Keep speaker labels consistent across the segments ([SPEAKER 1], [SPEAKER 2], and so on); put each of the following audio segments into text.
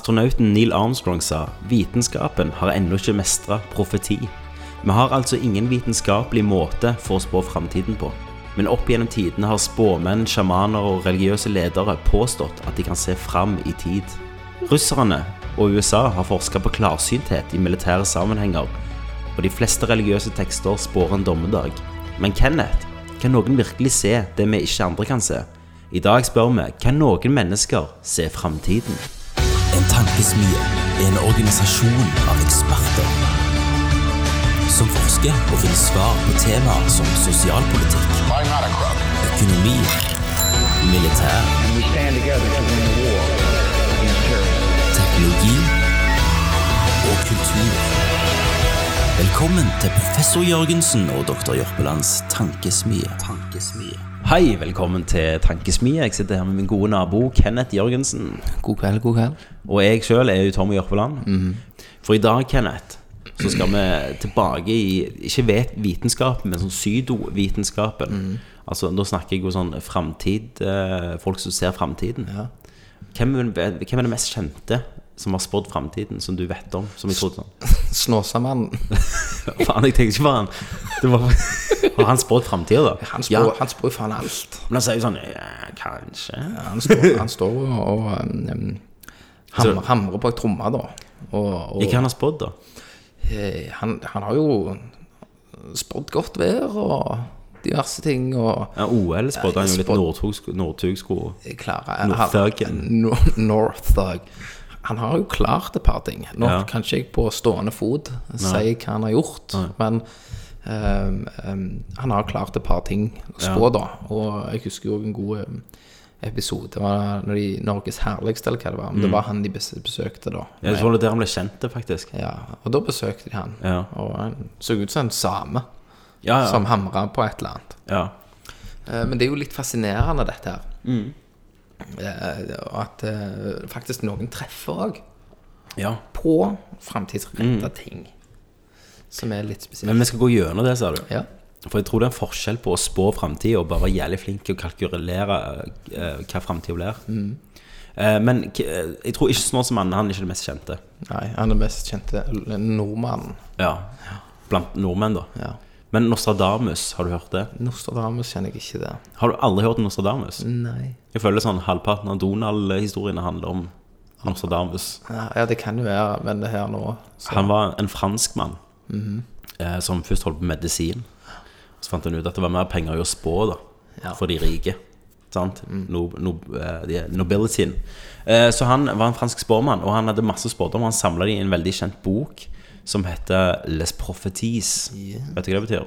[SPEAKER 1] Astronauten Neil Armstrong sa vitenskapen har ennå ikke mestra profeti. Vi har altså ingen vitenskapelig måte for å spå framtiden på. Men opp gjennom tidene har spåmenn, sjamaner og religiøse ledere påstått at de kan se fram i tid. Russerne og USA har forska på klarsynthet i militære sammenhenger, og de fleste religiøse tekster spår en dommedag. Men Kenneth, kan noen virkelig se det vi ikke andre kan se? I dag spør vi kan noen mennesker se framtiden?
[SPEAKER 2] En tankesmie er en organisasjon av eksperter som forsker og finner svar på temaer som sosialpolitikk,
[SPEAKER 3] I'm not a crook.
[SPEAKER 2] økonomi, militær,
[SPEAKER 4] we stand together to win the war against terrorism.
[SPEAKER 2] teknologi og kultur. Velkommen til professor Jørgensen og doktor Jørpelands tankesmie. tankesmie.
[SPEAKER 1] Hei, velkommen til Tankesmie. Jeg sitter her med min gode nabo Kenneth Jørgensen.
[SPEAKER 5] God kveld, god kveld.
[SPEAKER 1] Og jeg sjøl er jo Tommy Jørpeland. For i dag, Kenneth, så skal vi tilbake i ikke vet vitenskapen, men sånn pseudovitenskapen. Altså, da snakker jeg jo sånn framtid eh, Folk som ser framtiden. Hvem, er- hvem er det mest kjente som har spådd framtiden, som du vet om? Som jeg trodde sånn
[SPEAKER 5] Snåsamannen.
[SPEAKER 1] Faen, jeg tenkte ikke på han! Det var, har han spådd framtida, da?
[SPEAKER 5] Han spår
[SPEAKER 1] ja,
[SPEAKER 5] ja. jo faen alt.
[SPEAKER 1] men han sier jo sånn ja, Kanskje.
[SPEAKER 5] Han står, han står jo og um, um, hamrer, hamrer på ei tromme, da. Og, og
[SPEAKER 1] Ikke han har spådd, da?
[SPEAKER 5] eh, han, han har jo spådd godt vær og diverse ting. Og
[SPEAKER 1] Ja, OL spådde han jo litt
[SPEAKER 5] spådd-
[SPEAKER 1] Nordtug- Northug-sko.
[SPEAKER 5] klarer
[SPEAKER 1] Northuggen.
[SPEAKER 5] Northug. Han har jo klart et par ting. Nå
[SPEAKER 1] Ja.
[SPEAKER 5] kan ikke jeg på stående fot si hva han har gjort, men ehm, ehm, han har klart et par ting å spå, da. Og jeg husker jo en god ehm, episode det var når de Norges herligste, eller hva det var.
[SPEAKER 1] Mm.
[SPEAKER 5] Men det var han de bes- besøkte, da.
[SPEAKER 1] Jeg tror det er der han ble kjent, det, faktisk.
[SPEAKER 5] Ja, og da besøkte de han.
[SPEAKER 1] Ja.
[SPEAKER 5] Og han så ut som en same
[SPEAKER 1] Ja, ja.
[SPEAKER 5] som hamra på et eller annet.
[SPEAKER 1] ja.
[SPEAKER 5] Eh, Men det er jo litt fascinerende, dette her. Eh, Og at eh, faktisk noen treffer òg
[SPEAKER 1] ja.
[SPEAKER 5] på framtidsretta ting. Som er litt spesielt.
[SPEAKER 1] Men vi skal gå gjennom det, sa du.
[SPEAKER 5] Ja.
[SPEAKER 1] For jeg tror det er en forskjell på å spå framtida og bare være jævlig flink til å kalkulere eh, hva framtida blir. Eh, men k- eh, jeg tror ikke sånn som han, han er ikke det mest kjente.
[SPEAKER 5] Nei, han er mest kjente l- nordmannen.
[SPEAKER 1] Ja. Blant nordmenn, da.
[SPEAKER 5] Ja.
[SPEAKER 1] Men Nostradamus, har du hørt det?
[SPEAKER 5] Nostradamus kjenner jeg ikke det.
[SPEAKER 1] Har du aldri hørt om Nostradamus?
[SPEAKER 5] Nei.
[SPEAKER 1] Jeg føler sånn halvparten av Donald-historiene handler om Nostradamus.
[SPEAKER 5] Ja, det kan jo være, men det her nå så,
[SPEAKER 1] Han var en fransk mann eh, som først holdt på medisin. Så fant han ut at det var mer penger i å spå da,
[SPEAKER 5] Ja. Mm.
[SPEAKER 1] for de rike. Sant? No, no, eh, de- nobilityen. Eh, så han var en fransk spåmann, og han hadde masse spådommer. Han samla de i en veldig kjent bok som heter Les Propheties.
[SPEAKER 5] Ja.
[SPEAKER 1] Vet du hva det betyr?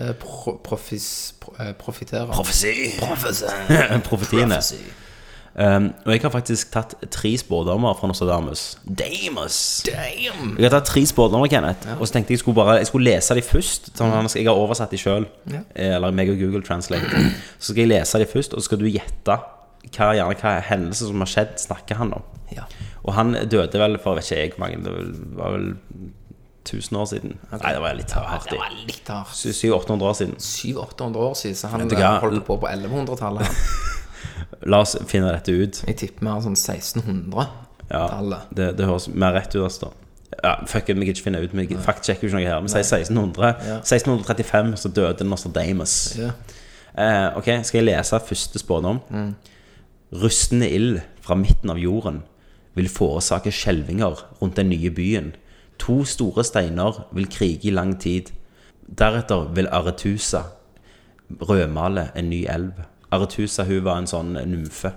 [SPEAKER 5] eh, pro, profis, pro, eh, Profiterer.
[SPEAKER 1] Profesi! Profetiene. Um, og jeg har faktisk tatt tre spådommer fra Nostradamus. Damus!
[SPEAKER 5] Damn!
[SPEAKER 1] Jeg har tatt tre spådommer, Kenneth. Og så tenkte jeg skulle bare, jeg skulle lese de først. Sånn, at jeg har oversatt de sjøl.
[SPEAKER 5] Mm. Ja.
[SPEAKER 1] Eller meg og Google Translate. Så skal jeg lese de først, og så skal du gjette hva, gjerne, hva hendelser som har skjedd, snakker han om.
[SPEAKER 5] Ja.
[SPEAKER 1] Og han døde vel for vet ikke jeg hvor mange Det var vel 1000 år siden. Nei, det var litt hardt.
[SPEAKER 5] Det var litt hardt.
[SPEAKER 1] 700-800 år siden.
[SPEAKER 5] 700-800 år siden, så han
[SPEAKER 1] du hva?
[SPEAKER 5] eh, holdt på på 1100-tallet.
[SPEAKER 1] La oss finne dette ut.
[SPEAKER 5] Jeg tipper mer sånn 1600-tallet.
[SPEAKER 1] Det, det høres mer rett ut, altså. Ja, fuck it, vi kan ikke finne ut. Vi faktsjekker jo ikke noe her. Vi sier 1600.
[SPEAKER 5] Ja.
[SPEAKER 1] 1635 så døde Nostradamus.
[SPEAKER 5] Ja.
[SPEAKER 1] Eh, ok, skal jeg lese første spådom?
[SPEAKER 5] Mm.
[SPEAKER 1] Rustende ild fra midten av jorden vil forårsake skjelvinger rundt den nye byen. To store steiner vil krige i lang tid. Deretter vil Aretusa rødmale en ny elv. Aretusa hun var en sånn nymfe.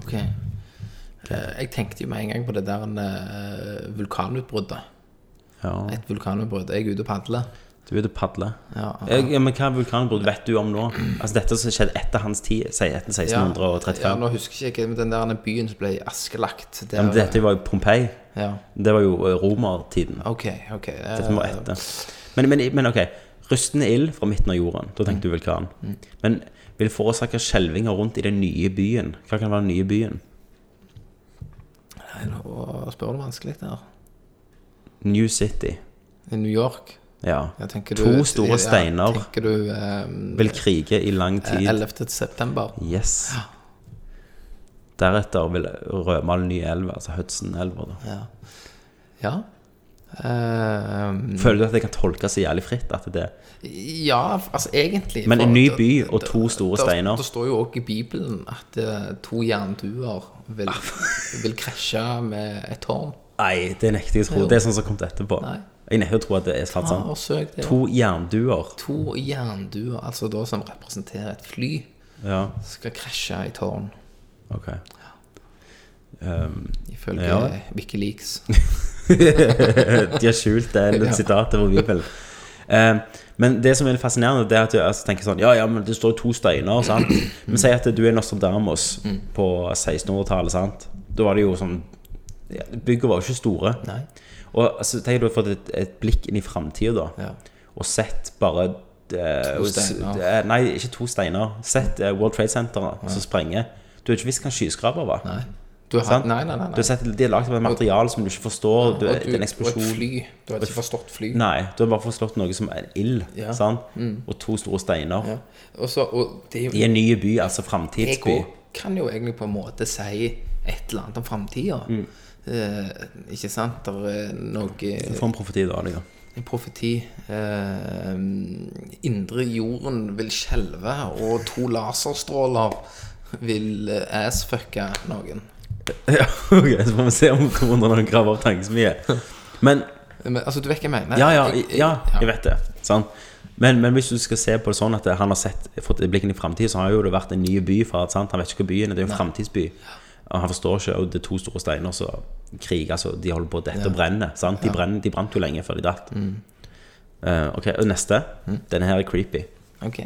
[SPEAKER 5] Ok. Eh, Jeg tenkte jo med en gang på det der eh, vulkanutbruddet.
[SPEAKER 1] Ja.
[SPEAKER 5] Et vulkanutbrudd. Jeg er ute og padler.
[SPEAKER 1] Du er ute og padler.
[SPEAKER 5] Ja.
[SPEAKER 1] Eh, ja, men hva vulkanutbrudd vet du om nå? Altså Dette som skjedde etter hans tid, sier etter
[SPEAKER 5] Ja.
[SPEAKER 1] 1635.
[SPEAKER 5] Ja, nå husker jeg ikke men den der byen som ble askelagt. Der,
[SPEAKER 1] men dette var jo Pompeii.
[SPEAKER 5] ja.
[SPEAKER 1] Det var jo eh, romertiden.
[SPEAKER 5] Ok, ok. eh,
[SPEAKER 1] Dette må etter. Men, men, men ok, rustende ild fra midten av jorden. Da tenkte du vulkan. Men vil forårsake skjelvinger rundt i den nye byen. Hva kan være den nye byen?
[SPEAKER 5] Eh, nei, Nå spør du vanskelig der.
[SPEAKER 1] New City.
[SPEAKER 5] I New York.
[SPEAKER 1] Ja.
[SPEAKER 5] Ja, tenker du,
[SPEAKER 1] To store
[SPEAKER 5] ja,
[SPEAKER 1] steiner
[SPEAKER 5] Tenker du eh,
[SPEAKER 1] vil krige i lang tid.
[SPEAKER 5] 11. september?
[SPEAKER 1] Yes. Deretter vil rømme den nye elva, altså Hudson-elva. da.
[SPEAKER 5] Ja. ja. Ehm,
[SPEAKER 1] Føler du at det kan tolkes så jævlig fritt? at det
[SPEAKER 5] ja, altså egentlig
[SPEAKER 1] Men en
[SPEAKER 5] for-
[SPEAKER 1] ny
[SPEAKER 5] det-
[SPEAKER 1] by og
[SPEAKER 5] det-
[SPEAKER 1] to store
[SPEAKER 5] det-
[SPEAKER 1] steiner.
[SPEAKER 5] Det står jo også i Bibelen at eh, to jernduer vil,
[SPEAKER 1] Ah.
[SPEAKER 5] vil krasje med et tårn.
[SPEAKER 1] Nei, det nekter jeg å tro. Det er sånn som kom etterpå.
[SPEAKER 5] Nei. Ah,
[SPEAKER 1] Jeg nekter å tro at det er sant.
[SPEAKER 5] Ja,
[SPEAKER 1] sant?
[SPEAKER 5] og søk det.
[SPEAKER 1] To jernduer.
[SPEAKER 5] To jernduer, altså da som representerer et fly,
[SPEAKER 1] Ja,
[SPEAKER 5] skal krasje i tårn,
[SPEAKER 1] ok. Um,
[SPEAKER 5] ifølge
[SPEAKER 1] Ja.
[SPEAKER 5] Wikileaks.
[SPEAKER 1] De har skjult det
[SPEAKER 5] Ja.
[SPEAKER 1] litt sitatet fra Bibelen. Eh, men det som er litt fascinerende, det er at du altså, tenker sånn Ja, ja, men det står jo to steiner, sant? Men si at du er Nostradamus
[SPEAKER 5] Mm.
[SPEAKER 1] på 1600-tallet, sant? Da var det jo sånn ja, Byggene var jo ikke store.
[SPEAKER 5] Nei.
[SPEAKER 1] Og altså, tenk at du har fått et, et blikk inn i framtida, da,
[SPEAKER 5] Ja.
[SPEAKER 1] og sett bare eh,
[SPEAKER 5] To
[SPEAKER 1] s-
[SPEAKER 5] steiner.
[SPEAKER 1] eh, Nei, ikke to steiner. Sett eh, World Trade Center som sprenger. Du har ikke visst hva en skyskraper var.
[SPEAKER 5] Nei. Du har,
[SPEAKER 1] Sant?
[SPEAKER 5] nei, nei, nei. nei.
[SPEAKER 1] Du har sett, de er lagd av et materiale som du ikke forstår. Du,
[SPEAKER 5] Og
[SPEAKER 1] det er en
[SPEAKER 5] Og et
[SPEAKER 1] eksplosjon.
[SPEAKER 5] fly. Du har ikke forstått fly.
[SPEAKER 1] Nei, du har bare forslått noe som er ild,
[SPEAKER 5] Ja. Mm.
[SPEAKER 1] sant? og to store steiner.
[SPEAKER 5] Ja. Og så, og det, er jo-
[SPEAKER 1] I en ny by, altså
[SPEAKER 5] jeg
[SPEAKER 1] framtidsby.
[SPEAKER 5] kan jo egentlig på en måte si et eller annet om framtida.
[SPEAKER 1] Mm.
[SPEAKER 5] Eh, ikke sant? Der er noe
[SPEAKER 1] For en profeti, da. Liksom.
[SPEAKER 5] En profeti. Eh, indre jorden vil skjelve, og to laserstråler vil eh, assfucke noen.
[SPEAKER 1] Ja, ok, Så får vi se om 200 noen graver opp tankesmie. Men
[SPEAKER 5] Men, altså, du vet hva jeg mener?
[SPEAKER 1] ja, ja,
[SPEAKER 5] Jeg- jeg-
[SPEAKER 1] ja,
[SPEAKER 5] ja.
[SPEAKER 1] jeg vet det. Sant? Men, men hvis du skal se på det sånn at han har sett, fått et blikk inn i framtida, så har jo det vært en ny by. For at, sant? Han vet ikke hva byen er, det er jo en framtidsby. Og Han forstår ikke, og det er to store steiner som kriger, så de holder på å dette og brenne. Sant? De, brenner, de brant jo lenge før de datt.
[SPEAKER 5] Mm.
[SPEAKER 1] Eh, ok, og neste. Denne her er creepy.
[SPEAKER 5] Ok.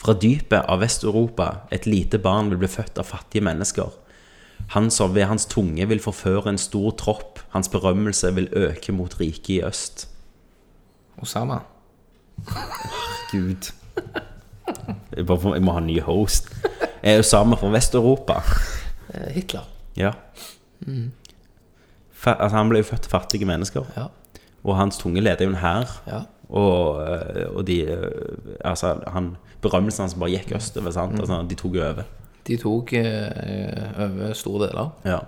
[SPEAKER 1] Fra dypet av Vest-Europa et lite barn vil bli født av fattige mennesker. Han som ved hans tunge vil forføre en stor tropp, hans berømmelse vil øke mot riket i øst.
[SPEAKER 5] Osama.
[SPEAKER 1] Gud. Jeg, bare, får- jeg må ha en ny host. Jeg er jo samer fra Vest-Europa.
[SPEAKER 5] Eh, Hitler.
[SPEAKER 1] Ja. Fa altså, han ble jo født til fattige mennesker,
[SPEAKER 5] Ja.
[SPEAKER 1] og hans tunge leder jo en hær.
[SPEAKER 5] ja.
[SPEAKER 1] Og, eh, og de eh, Altså, han, berømmelsen hans bare gikk østover, sant? Altså, de tok jo over.
[SPEAKER 5] De tok eh, over store deler.
[SPEAKER 1] Ja.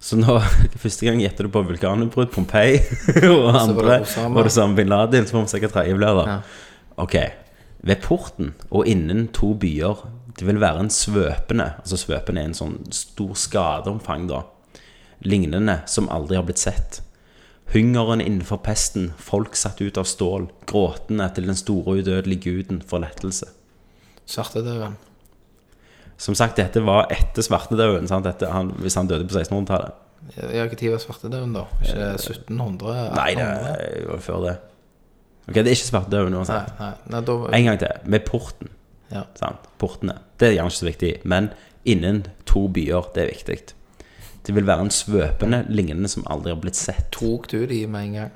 [SPEAKER 1] Så nå, første gang gjetter du på vulkanutbrudd, Pompeii og andre.
[SPEAKER 5] Osama.
[SPEAKER 1] Var det samme bin Laden, så må vi sikkert tredje blir det.
[SPEAKER 5] Ja.
[SPEAKER 1] Ok. Ved porten og innen to byer, det vil være en svøpende, altså svøpende er en sånn stor skadeomfang da, lignende som aldri har blitt sett. Hungeren innenfor pesten, folk satt ut av stål, gråtende til den store udødelige guden for lettelse.
[SPEAKER 5] Svartedauden.
[SPEAKER 1] Som sagt, dette var etter svartedauden, sant? Dette, han, hvis han døde på 1600-tallet.
[SPEAKER 5] Ja, Når var svartedauden, da? Ikke det 1700?
[SPEAKER 1] Eh, Nei, det
[SPEAKER 5] 1800?
[SPEAKER 1] var før det. Ok, det er ikke svartedauden
[SPEAKER 5] Nei,
[SPEAKER 1] uansett.
[SPEAKER 5] nei, nei, da
[SPEAKER 1] En gang til, med porten.
[SPEAKER 5] ja.
[SPEAKER 1] Sant? Portene. Det er gjerne ikke så viktig, men innen to byer, det er viktig. Det vil være en svøpende lignende som aldri har blitt sett.
[SPEAKER 5] Tok du de med en gang?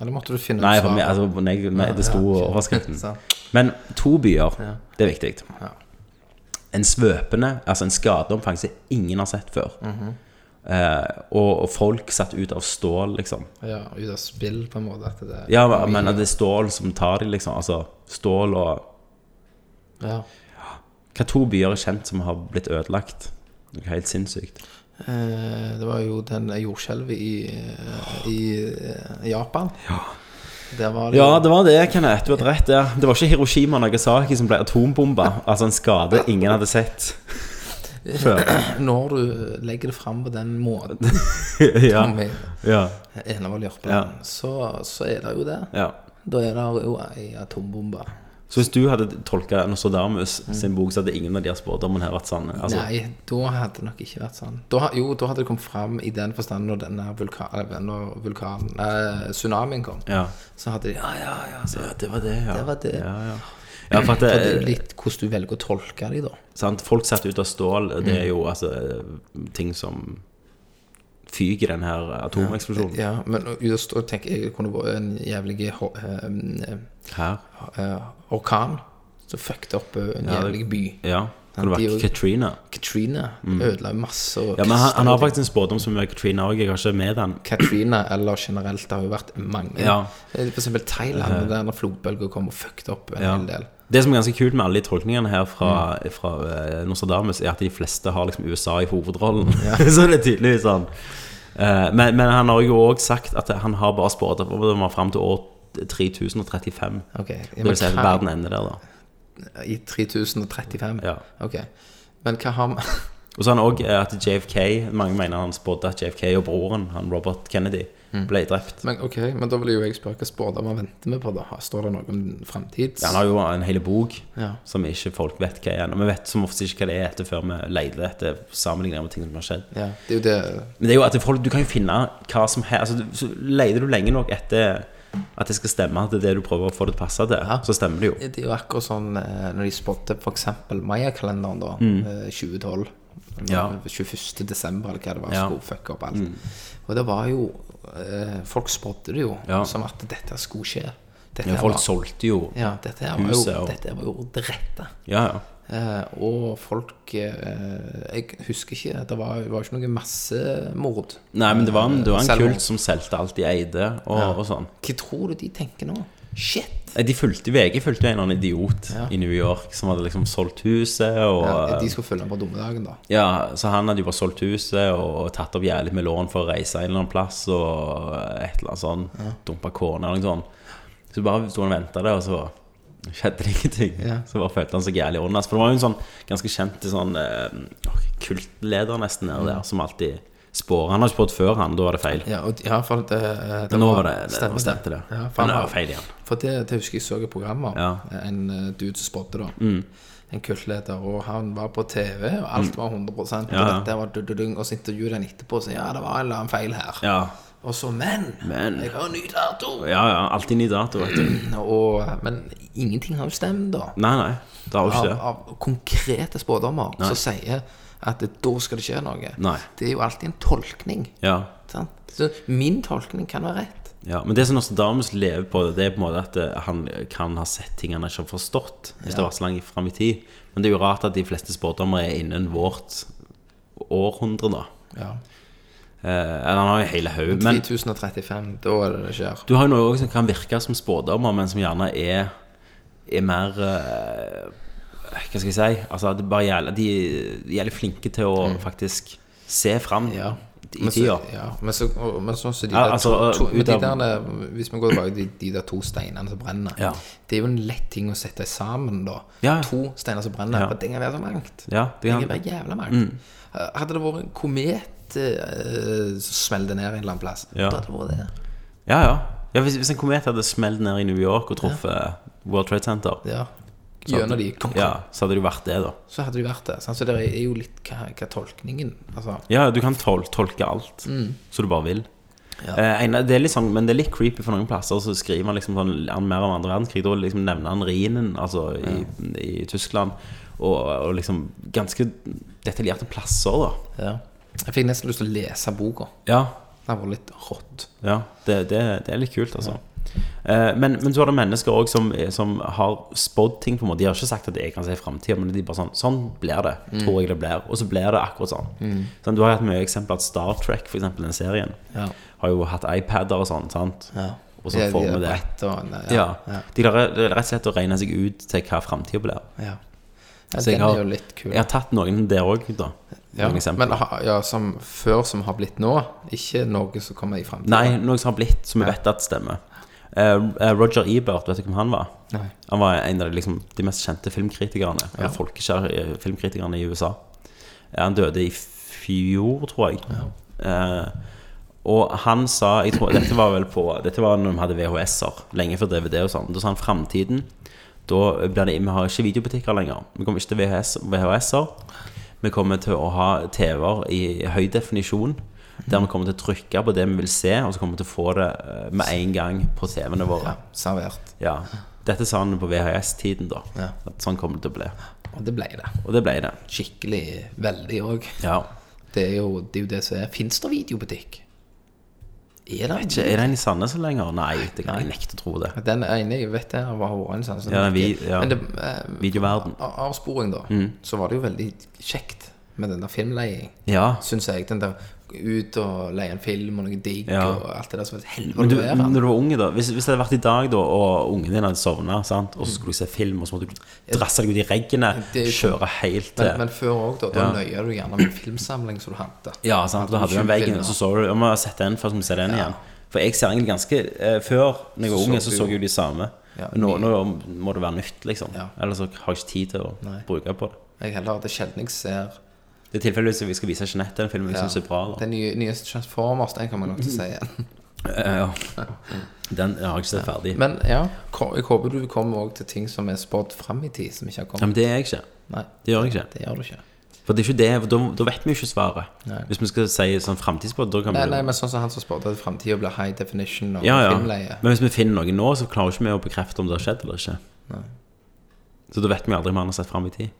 [SPEAKER 5] Eller måtte du finne
[SPEAKER 1] Nei,
[SPEAKER 5] ut
[SPEAKER 1] for meg,
[SPEAKER 5] svaret?
[SPEAKER 1] altså, nei, nei, det sto
[SPEAKER 5] Ja, ok.
[SPEAKER 1] overskriften.
[SPEAKER 5] Sant.
[SPEAKER 1] Men to byer,
[SPEAKER 5] Ja.
[SPEAKER 1] det er viktig.
[SPEAKER 5] Ja.
[SPEAKER 1] En svøpende, altså en skadeomfang som ingen har sett før.
[SPEAKER 5] Mhm.
[SPEAKER 1] eh, og, og folk satt ut av stål, liksom.
[SPEAKER 5] Ja, ut av spill, på en måte. At det,
[SPEAKER 1] Ja, men at det er stål som tar dem, liksom. Altså stål og
[SPEAKER 5] Ja.
[SPEAKER 1] Hva to byer er kjent som har blitt ødelagt? Noe helt sinnssykt.
[SPEAKER 5] Eh, det var jo den jordskjelvet i, eh, i eh, Japan. Ja. Der var det
[SPEAKER 1] Ja, det var det, Kenneth. Du hadde rett der. Det var ikke Hiroshima og Nagasaki som ble atombomba. Altså en skade ingen hadde sett før.
[SPEAKER 5] Når du legger det fram på den måten
[SPEAKER 1] Ja.
[SPEAKER 5] om jeg-
[SPEAKER 1] Ja.
[SPEAKER 5] Enevold
[SPEAKER 1] Ja.
[SPEAKER 5] Jørpeland, så, så er det jo det.
[SPEAKER 1] ja.
[SPEAKER 5] Da er det jo ei atombombe.
[SPEAKER 1] Så hvis du hadde tolka Nostradamus sin bok, så hadde ingen av de her spådommene her vært sanne? Altså,
[SPEAKER 5] Nei, da hadde det nok ikke vært sånn. Da, ha- jo, da hadde det kommet fram i den forstand når denne vulkanen, når vulkanen eh, tsunamien kom.
[SPEAKER 1] ja.
[SPEAKER 5] Så hadde de Ja, ja, ja. Så,
[SPEAKER 1] altså, det var det, ja.
[SPEAKER 5] Det var det.
[SPEAKER 1] Ja, ja. Ja, for at
[SPEAKER 5] det er jo
[SPEAKER 1] det,
[SPEAKER 5] litt hvordan du velger å tolke de, da.
[SPEAKER 1] sant? Folk satt ut av stål, det
[SPEAKER 5] Mm.
[SPEAKER 1] er jo altså ting som fyker i den her atomeksplosjonen.
[SPEAKER 5] Ja, men just å tenke Jeg kunne vært en jævlig ho- eh,
[SPEAKER 1] Her.
[SPEAKER 5] eh, orkan som fucket opp eh, en
[SPEAKER 1] Ja, det-
[SPEAKER 5] jævlig by.
[SPEAKER 1] Ja. Det hadde
[SPEAKER 5] de
[SPEAKER 1] vært
[SPEAKER 5] også-
[SPEAKER 1] Katrina.
[SPEAKER 5] Katrina ødela masse. og
[SPEAKER 1] Mm. Ja, men han, han har
[SPEAKER 5] kastet-
[SPEAKER 1] faktisk en spådom som er Katrina òg. Jeg har ikke med den.
[SPEAKER 5] Katrina, eller generelt, det har jo vært mange.
[SPEAKER 1] Ja. Eh.
[SPEAKER 5] Eh, For eksempel Thailand, der når flodbølger kom og fucket opp en
[SPEAKER 1] Ja.
[SPEAKER 5] hel del.
[SPEAKER 1] Det som er ganske kult med alle de tolkningene her fra,
[SPEAKER 5] Mm.
[SPEAKER 1] fra eh, Nostradamus, er at de fleste har liksom USA i hovedrollen. så det er tydeligvis sånn. Eh, men, men han har jo òg sagt at han har bare spådd at vi må fram til år 3035.
[SPEAKER 5] Ok,
[SPEAKER 1] Det
[SPEAKER 5] men
[SPEAKER 1] vil si at
[SPEAKER 5] hva-
[SPEAKER 1] verden ender der, da.
[SPEAKER 5] I 3035?
[SPEAKER 1] Ja.
[SPEAKER 5] Ok. Men hva har vi
[SPEAKER 1] Og så har han òg at JFK Mange mener han spådde at JFK og broren, han Robert Kennedy, ble drept.
[SPEAKER 5] men, Ok, men da vil jo jeg spørre hva spådommer venter vi på, da? Står det noe om framtids...?
[SPEAKER 1] Han har jo en hel bok
[SPEAKER 5] Ja.
[SPEAKER 1] som ikke folk vet hva er. Og vi vet som oftest ikke hva det er etter før vi leter etter sammenligninger med ting som har skjedd.
[SPEAKER 5] ja. Det er jo det
[SPEAKER 1] Men det er jo at folk, du kan jo finne hva som helst altså, du- Så leter du lenge nok etter at det skal stemme til det du prøver å få det til å passe til, så stemmer det jo.
[SPEAKER 5] Det er jo akkurat sånn eh, når de spådde f.eks. Maya-kalenderen, da, eh, 2012.
[SPEAKER 1] Mm. Ja.
[SPEAKER 5] 21. desember, eller hva det var,
[SPEAKER 1] Ja. Mm.
[SPEAKER 5] skulle fucke opp alt. Og det var jo eh, Folk spådde det jo
[SPEAKER 1] Ja.
[SPEAKER 5] som at dette skulle skje. Dette
[SPEAKER 1] Ja,
[SPEAKER 5] her
[SPEAKER 1] folk
[SPEAKER 5] var-
[SPEAKER 1] solgte jo
[SPEAKER 5] ja, dette her var jo,
[SPEAKER 1] huset og-
[SPEAKER 5] dette var jo det rette.
[SPEAKER 1] Ja, ja.
[SPEAKER 5] Eh, og folk eh, Jeg husker ikke. Det var, det var ikke noe massemord.
[SPEAKER 1] Nei, men det var en, det var en
[SPEAKER 5] Selvmord.
[SPEAKER 1] kult som solgte alt de eide, og, og sånn.
[SPEAKER 5] Hva tror du de tenker nå? Shit!
[SPEAKER 1] Nei, De fulgte VG fulgte jo en eller annen idiot i New York som hadde liksom solgt huset, og eh,
[SPEAKER 5] Ja, de skulle følge med på dommedagen, da.
[SPEAKER 1] Ja, så han hadde jo bare solgt huset og tatt opp jævlig med lån for å reise en eller annen plass og et eller annet sånn. Dumpa kona eller noe sånt. Så bare sto han og venta der, og så skjedde det ingenting.
[SPEAKER 5] Ja.
[SPEAKER 1] Så bare følte han seg jævlig åndas. For det var jo en sånn ganske kjent sånn eh, kultleder nesten nede der, som alltid spår. Han har ikke spådd før, han. Da var det feil.
[SPEAKER 5] Mm. Ja, og, ja for det, eh, det
[SPEAKER 1] Men nå var det, det,
[SPEAKER 5] stemmer
[SPEAKER 1] stemte det.
[SPEAKER 5] Ja, for
[SPEAKER 1] Men det
[SPEAKER 5] han-
[SPEAKER 1] var feil igjen.
[SPEAKER 5] For det, det husker jeg så i programmer.
[SPEAKER 1] Ja. Mm.
[SPEAKER 5] En eh, dude som spådde, da. En kultleder. Og han var på TV, og alt var 100
[SPEAKER 1] Ja, ja.
[SPEAKER 5] Og dette var dududung, og så intervjuet han etterpå og sa ja, det var en eller annen feil her.
[SPEAKER 1] Ja,
[SPEAKER 5] Og så, men,
[SPEAKER 1] Men.
[SPEAKER 5] jeg har en ny dato!
[SPEAKER 1] ja. ja alltid ny dato, vet du.
[SPEAKER 5] Og, men ingenting har jo stemt, da.
[SPEAKER 1] Nei, nei. Det har jo
[SPEAKER 5] Av,
[SPEAKER 1] ikke det.
[SPEAKER 5] av konkrete spådommer som sier at det- da skal det skje noe.
[SPEAKER 1] Nei.
[SPEAKER 5] Det er jo alltid en tolkning.
[SPEAKER 1] Ja.
[SPEAKER 5] Sant? Så min tolkning kan være rett.
[SPEAKER 1] Ja, Men det som Nostradamus lever på, det er på en måte at eh, han kan ha sett ting han ikke har forstått. Hvis det har vært så langt fram i tid. Men det er jo rart at de fleste spådommer er innen vårt århundre, da.
[SPEAKER 5] Ja.
[SPEAKER 1] Eh, Eller han har jo hele haugen. Men
[SPEAKER 5] 3035, da er det det skjer.
[SPEAKER 1] du har jo noe også som kan virke som spådommer, men som gjerne er, er mer eh, Hva skal jeg si? Altså, at det bare gjelder, de de er jævlig flinke til å faktisk se fram
[SPEAKER 5] Mm. Ja.
[SPEAKER 1] i tida.
[SPEAKER 5] ja, men så, og, men sånn som de
[SPEAKER 1] Ja,
[SPEAKER 5] der, to,
[SPEAKER 1] altså,
[SPEAKER 5] to,
[SPEAKER 1] ut
[SPEAKER 5] men de
[SPEAKER 1] av-
[SPEAKER 5] der, eh, Hvis vi går tilbake til de der to steinene som brenner
[SPEAKER 1] Ja.
[SPEAKER 5] Det er jo en lett ting å sette sammen, da.
[SPEAKER 1] Ja.
[SPEAKER 5] To steiner som brenner.
[SPEAKER 1] Ja.
[SPEAKER 5] For det kan være så langt.
[SPEAKER 1] Ja, det Mm. kan-
[SPEAKER 5] Det kan være jævla langt. Eh, Hadde det vært en komet eh, som smelte ned en eller annen plass,
[SPEAKER 1] Ja.
[SPEAKER 5] da hadde det vært det.
[SPEAKER 1] Ja, ja. ja hvis, hvis en komet hadde smelt ned i New York og truffet World Trade Center,
[SPEAKER 5] Ja. Gjennom de. Kom, kom.
[SPEAKER 1] ja, så hadde det jo vært det, da.
[SPEAKER 5] Så hadde det vært det. sant? Så det er jo litt hva, hva tolkningen Altså.
[SPEAKER 1] Ja, du kan tol tolke alt så du bare vil.
[SPEAKER 5] Ja.
[SPEAKER 1] Eh, en, det er litt sånn, men det er litt creepy for noen plasser. Så skriver han liksom sånn, han mer om andre verdenskrig. Da liksom nevner han Rhinen, altså i, i Tyskland. Og, og liksom ganske detaljerte plasser, da.
[SPEAKER 5] Ja. Jeg fikk nesten lyst til å lese boka.
[SPEAKER 1] Ja,
[SPEAKER 5] Det var litt rått.
[SPEAKER 1] ja det, det, det er litt kult, altså. Eh, men, men så er det mennesker òg som, eh, som har spådd ting. på en måte De har ikke sagt at jeg kan se framtida, men de bare sånn Sånn blir det.
[SPEAKER 5] Mm.
[SPEAKER 1] Tror jeg det blir. Og så blir det akkurat sånn. sånn du har hatt mye eksempler at Star Trek, for eksempel den serien,
[SPEAKER 5] Ja.
[SPEAKER 1] har jo hatt iPader og sånn. sant? Og så
[SPEAKER 5] Ja,
[SPEAKER 1] får
[SPEAKER 5] de
[SPEAKER 1] vi
[SPEAKER 5] er
[SPEAKER 1] det.
[SPEAKER 5] brett og- nei,
[SPEAKER 1] Ja.
[SPEAKER 5] ja.
[SPEAKER 1] De klarer rett og slett å regne seg ut til hva framtida blir.
[SPEAKER 5] ja. ja
[SPEAKER 1] Så jeg
[SPEAKER 5] den
[SPEAKER 1] har-
[SPEAKER 5] er jo litt kul.
[SPEAKER 1] Jeg har tatt noen der òg, da.
[SPEAKER 5] ja.
[SPEAKER 1] Noen eksempler.
[SPEAKER 5] Men ha- ja, som før som har blitt nå, ikke noe som kommer i fremtiden
[SPEAKER 1] Nei, noe som har blitt, som vi vet at stemmer. Eh, eh, Roger Ebert, vet du hvem han var?
[SPEAKER 5] Nei.
[SPEAKER 1] Han var en av de, liksom, de mest kjente filmkritikerne, eller folkeskjære eh, filmkritikerne i USA. Eh, Han døde i fjor, tror jeg. Eh, og han sa jeg tror, Dette var vel på Dette var når de hadde VHS-er, lenge før DVD og sånn. Da sa han framtiden. Da blir det, vi har ikke videobutikker lenger. Vi kommer ikke til VHS VHS-er. Vi kommer til å ha TV-er i høy definisjon. Der vi kommer til å trykke på det vi vil se, og så kommer vi til å få det eh, med en gang på TV-ene våre.
[SPEAKER 5] Ja, servert.
[SPEAKER 1] Ja. Dette sa han på VHS-tiden, da.
[SPEAKER 5] Ja.
[SPEAKER 1] At sånn kommer det til å bli.
[SPEAKER 5] Og det ble det.
[SPEAKER 1] Og det ble det.
[SPEAKER 5] Skikkelig veldig òg.
[SPEAKER 1] Ja.
[SPEAKER 5] Det, er jo- det er jo det som er Fins det videobutikk? Er det
[SPEAKER 1] Ikke, er det en i Sandnes lenger? Nei, det kan jeg nekte å tro det.
[SPEAKER 5] Den ene jeg vet jeg har vært en sånn som
[SPEAKER 1] Ja, Mm. den
[SPEAKER 5] ikke-
[SPEAKER 1] vi- ja.
[SPEAKER 5] Men det, eh,
[SPEAKER 1] Videoverden.
[SPEAKER 5] av- avsporing, da, så var det jo veldig kjekt med den der filmleiing,
[SPEAKER 1] Ja.
[SPEAKER 5] syns jeg. Den der ut og leie en film og noe digg
[SPEAKER 1] Ja.
[SPEAKER 5] og alt det der som er et
[SPEAKER 1] Men
[SPEAKER 5] helvete
[SPEAKER 1] du,
[SPEAKER 5] å være.
[SPEAKER 1] når du var unge, da hvis, hvis det hadde vært i dag, da og ungen din hadde sovna, sant, og så skulle du se film, og så måtte du drasse deg ut i reggene,
[SPEAKER 5] Det er jo-
[SPEAKER 1] kjøre helt
[SPEAKER 5] Men,
[SPEAKER 1] til
[SPEAKER 5] men før òg, da. Da nøyer du gjerne med en filmsamling som du hadde.
[SPEAKER 1] Ja, sant, da hadde du den veggen, og så så du Jeg må ha sett den før så må vi se den igjen. For jeg ser egentlig ganske eh, Før, når jeg var
[SPEAKER 5] Så
[SPEAKER 1] unge,
[SPEAKER 5] så
[SPEAKER 1] så
[SPEAKER 5] du
[SPEAKER 1] så
[SPEAKER 5] jo-
[SPEAKER 1] jeg jo de samme.
[SPEAKER 5] Ja,
[SPEAKER 1] Men nå, nå må det være nytt, liksom.
[SPEAKER 5] Ja.
[SPEAKER 1] Ellers så har jeg ikke tid til å
[SPEAKER 5] Nei.
[SPEAKER 1] bruke på det.
[SPEAKER 5] Jeg heller at det er sjelden jeg ser
[SPEAKER 1] Det er tilfeldigvis hvis jeg skal vise Jeanette den filmen jeg
[SPEAKER 5] ja,
[SPEAKER 1] synes er bra. Da.
[SPEAKER 5] Den nye, nye Transformers, den kommer jeg nok til å se igjen.
[SPEAKER 1] Eh, ja. Den har jeg ikke sett ferdig.
[SPEAKER 5] Men ja, ko- jeg håper du kommer òg til ting som er spådd fram i tid, som ikke har
[SPEAKER 1] Ja,
[SPEAKER 5] kommet.
[SPEAKER 1] men det er jeg ikke.
[SPEAKER 5] Nei,
[SPEAKER 1] Det gjør jeg ikke.
[SPEAKER 5] det gjør du ikke.
[SPEAKER 1] For det er ikke det, for da, da vet vi jo ikke svaret.
[SPEAKER 5] Nei.
[SPEAKER 1] Hvis vi skal si sånn framtidsbåt, da kan vi
[SPEAKER 5] Nei,
[SPEAKER 1] jo-
[SPEAKER 5] nei, men sånn som han som spådde at framtida blir high definition og
[SPEAKER 1] ja, ja.
[SPEAKER 5] filmleie.
[SPEAKER 1] Men hvis vi finner noe nå, så klarer ikke vi å bekrefte om det har skjedd eller ikke. Så da vet vi aldri om han har sett fram i tid.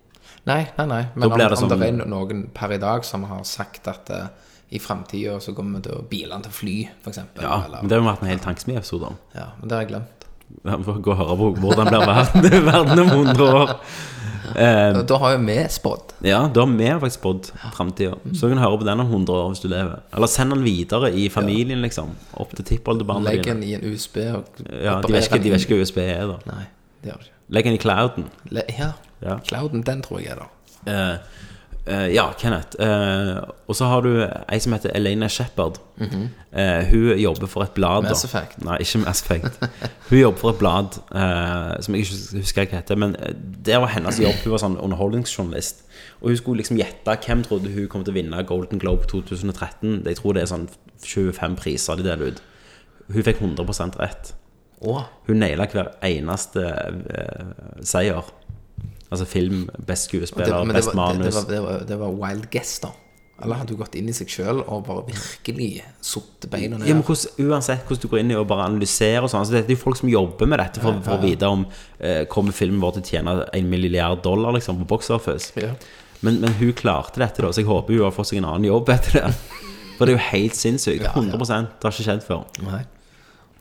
[SPEAKER 5] Nei, nei, nei. Men om,
[SPEAKER 1] blir det
[SPEAKER 5] om det
[SPEAKER 1] som-
[SPEAKER 5] er noen per i dag som har sagt at eh, i framtida så kommer til å- bilene til å fly, f.eks.
[SPEAKER 1] Ja, men Det har jo vært en hel tankesmieepisode om.
[SPEAKER 5] ja, men det har jeg glemt.
[SPEAKER 1] Ja, vi får Gå og høre på hvordan blir verden, verden om 100 år. Eh,
[SPEAKER 5] Da, da har jo vi spådd.
[SPEAKER 1] Ja, da har vi faktisk spådd framtida.
[SPEAKER 5] Mm.
[SPEAKER 1] Så kan du høre på den om 100 år hvis du lever. Eller send den videre i familien, liksom. Opp til tippoldebarna
[SPEAKER 5] Legg
[SPEAKER 1] dine.
[SPEAKER 5] den i en USB og
[SPEAKER 1] Ja, de vet ikke de vet ikke hva USB er, da.
[SPEAKER 5] Nei, det gjør du ikke.
[SPEAKER 1] Legg den i clouden.
[SPEAKER 5] Le, ja.
[SPEAKER 1] Ja.
[SPEAKER 5] Clouden, den tror jeg er der.
[SPEAKER 1] Eh, eh, ja, Kenneth. Eh, og så har du ei som heter Elena Shepherd. Eh, hun jobber for et blad. da.
[SPEAKER 5] Mhm. Mass Effect.
[SPEAKER 1] Nei, ikke Mass Effect. Hun jobber for et blad eh, som jeg ikke husker hva heter. Men eh, det var hennes jobb. Hun var sånn underholdningsjournalist. Og hun skulle liksom gjette hvem trodde hun kom til å vinne Golden Globe 2013. Jeg tror det er sånn 25 priser de deler ut. Hun fikk 100 rett.
[SPEAKER 5] Å,
[SPEAKER 1] Hun naila hver eneste eh, seier. Altså film, best
[SPEAKER 5] det,
[SPEAKER 1] skuespiller,
[SPEAKER 5] men det,
[SPEAKER 1] best
[SPEAKER 5] var, det,
[SPEAKER 1] manus.
[SPEAKER 5] det, var, det, var, det var wild guess, da. Eller hadde hun gått inn i seg sjøl og bare virkelig satt beina ned?
[SPEAKER 1] Ja, men hvordan, uansett hvordan du går inn i og bare analyserer og sånn, så dette er jo folk som jobber med dette for, for å vite om eh, kommer filmen vår til å tjene en milliard dollar liksom, på box office.
[SPEAKER 5] Ja.
[SPEAKER 1] Men, men hun klarte dette, da, så jeg håper hun har fått seg en annen jobb etter det. For det er jo helt sinnssykt. 100 Det har ikke skjedd før.
[SPEAKER 5] Nei.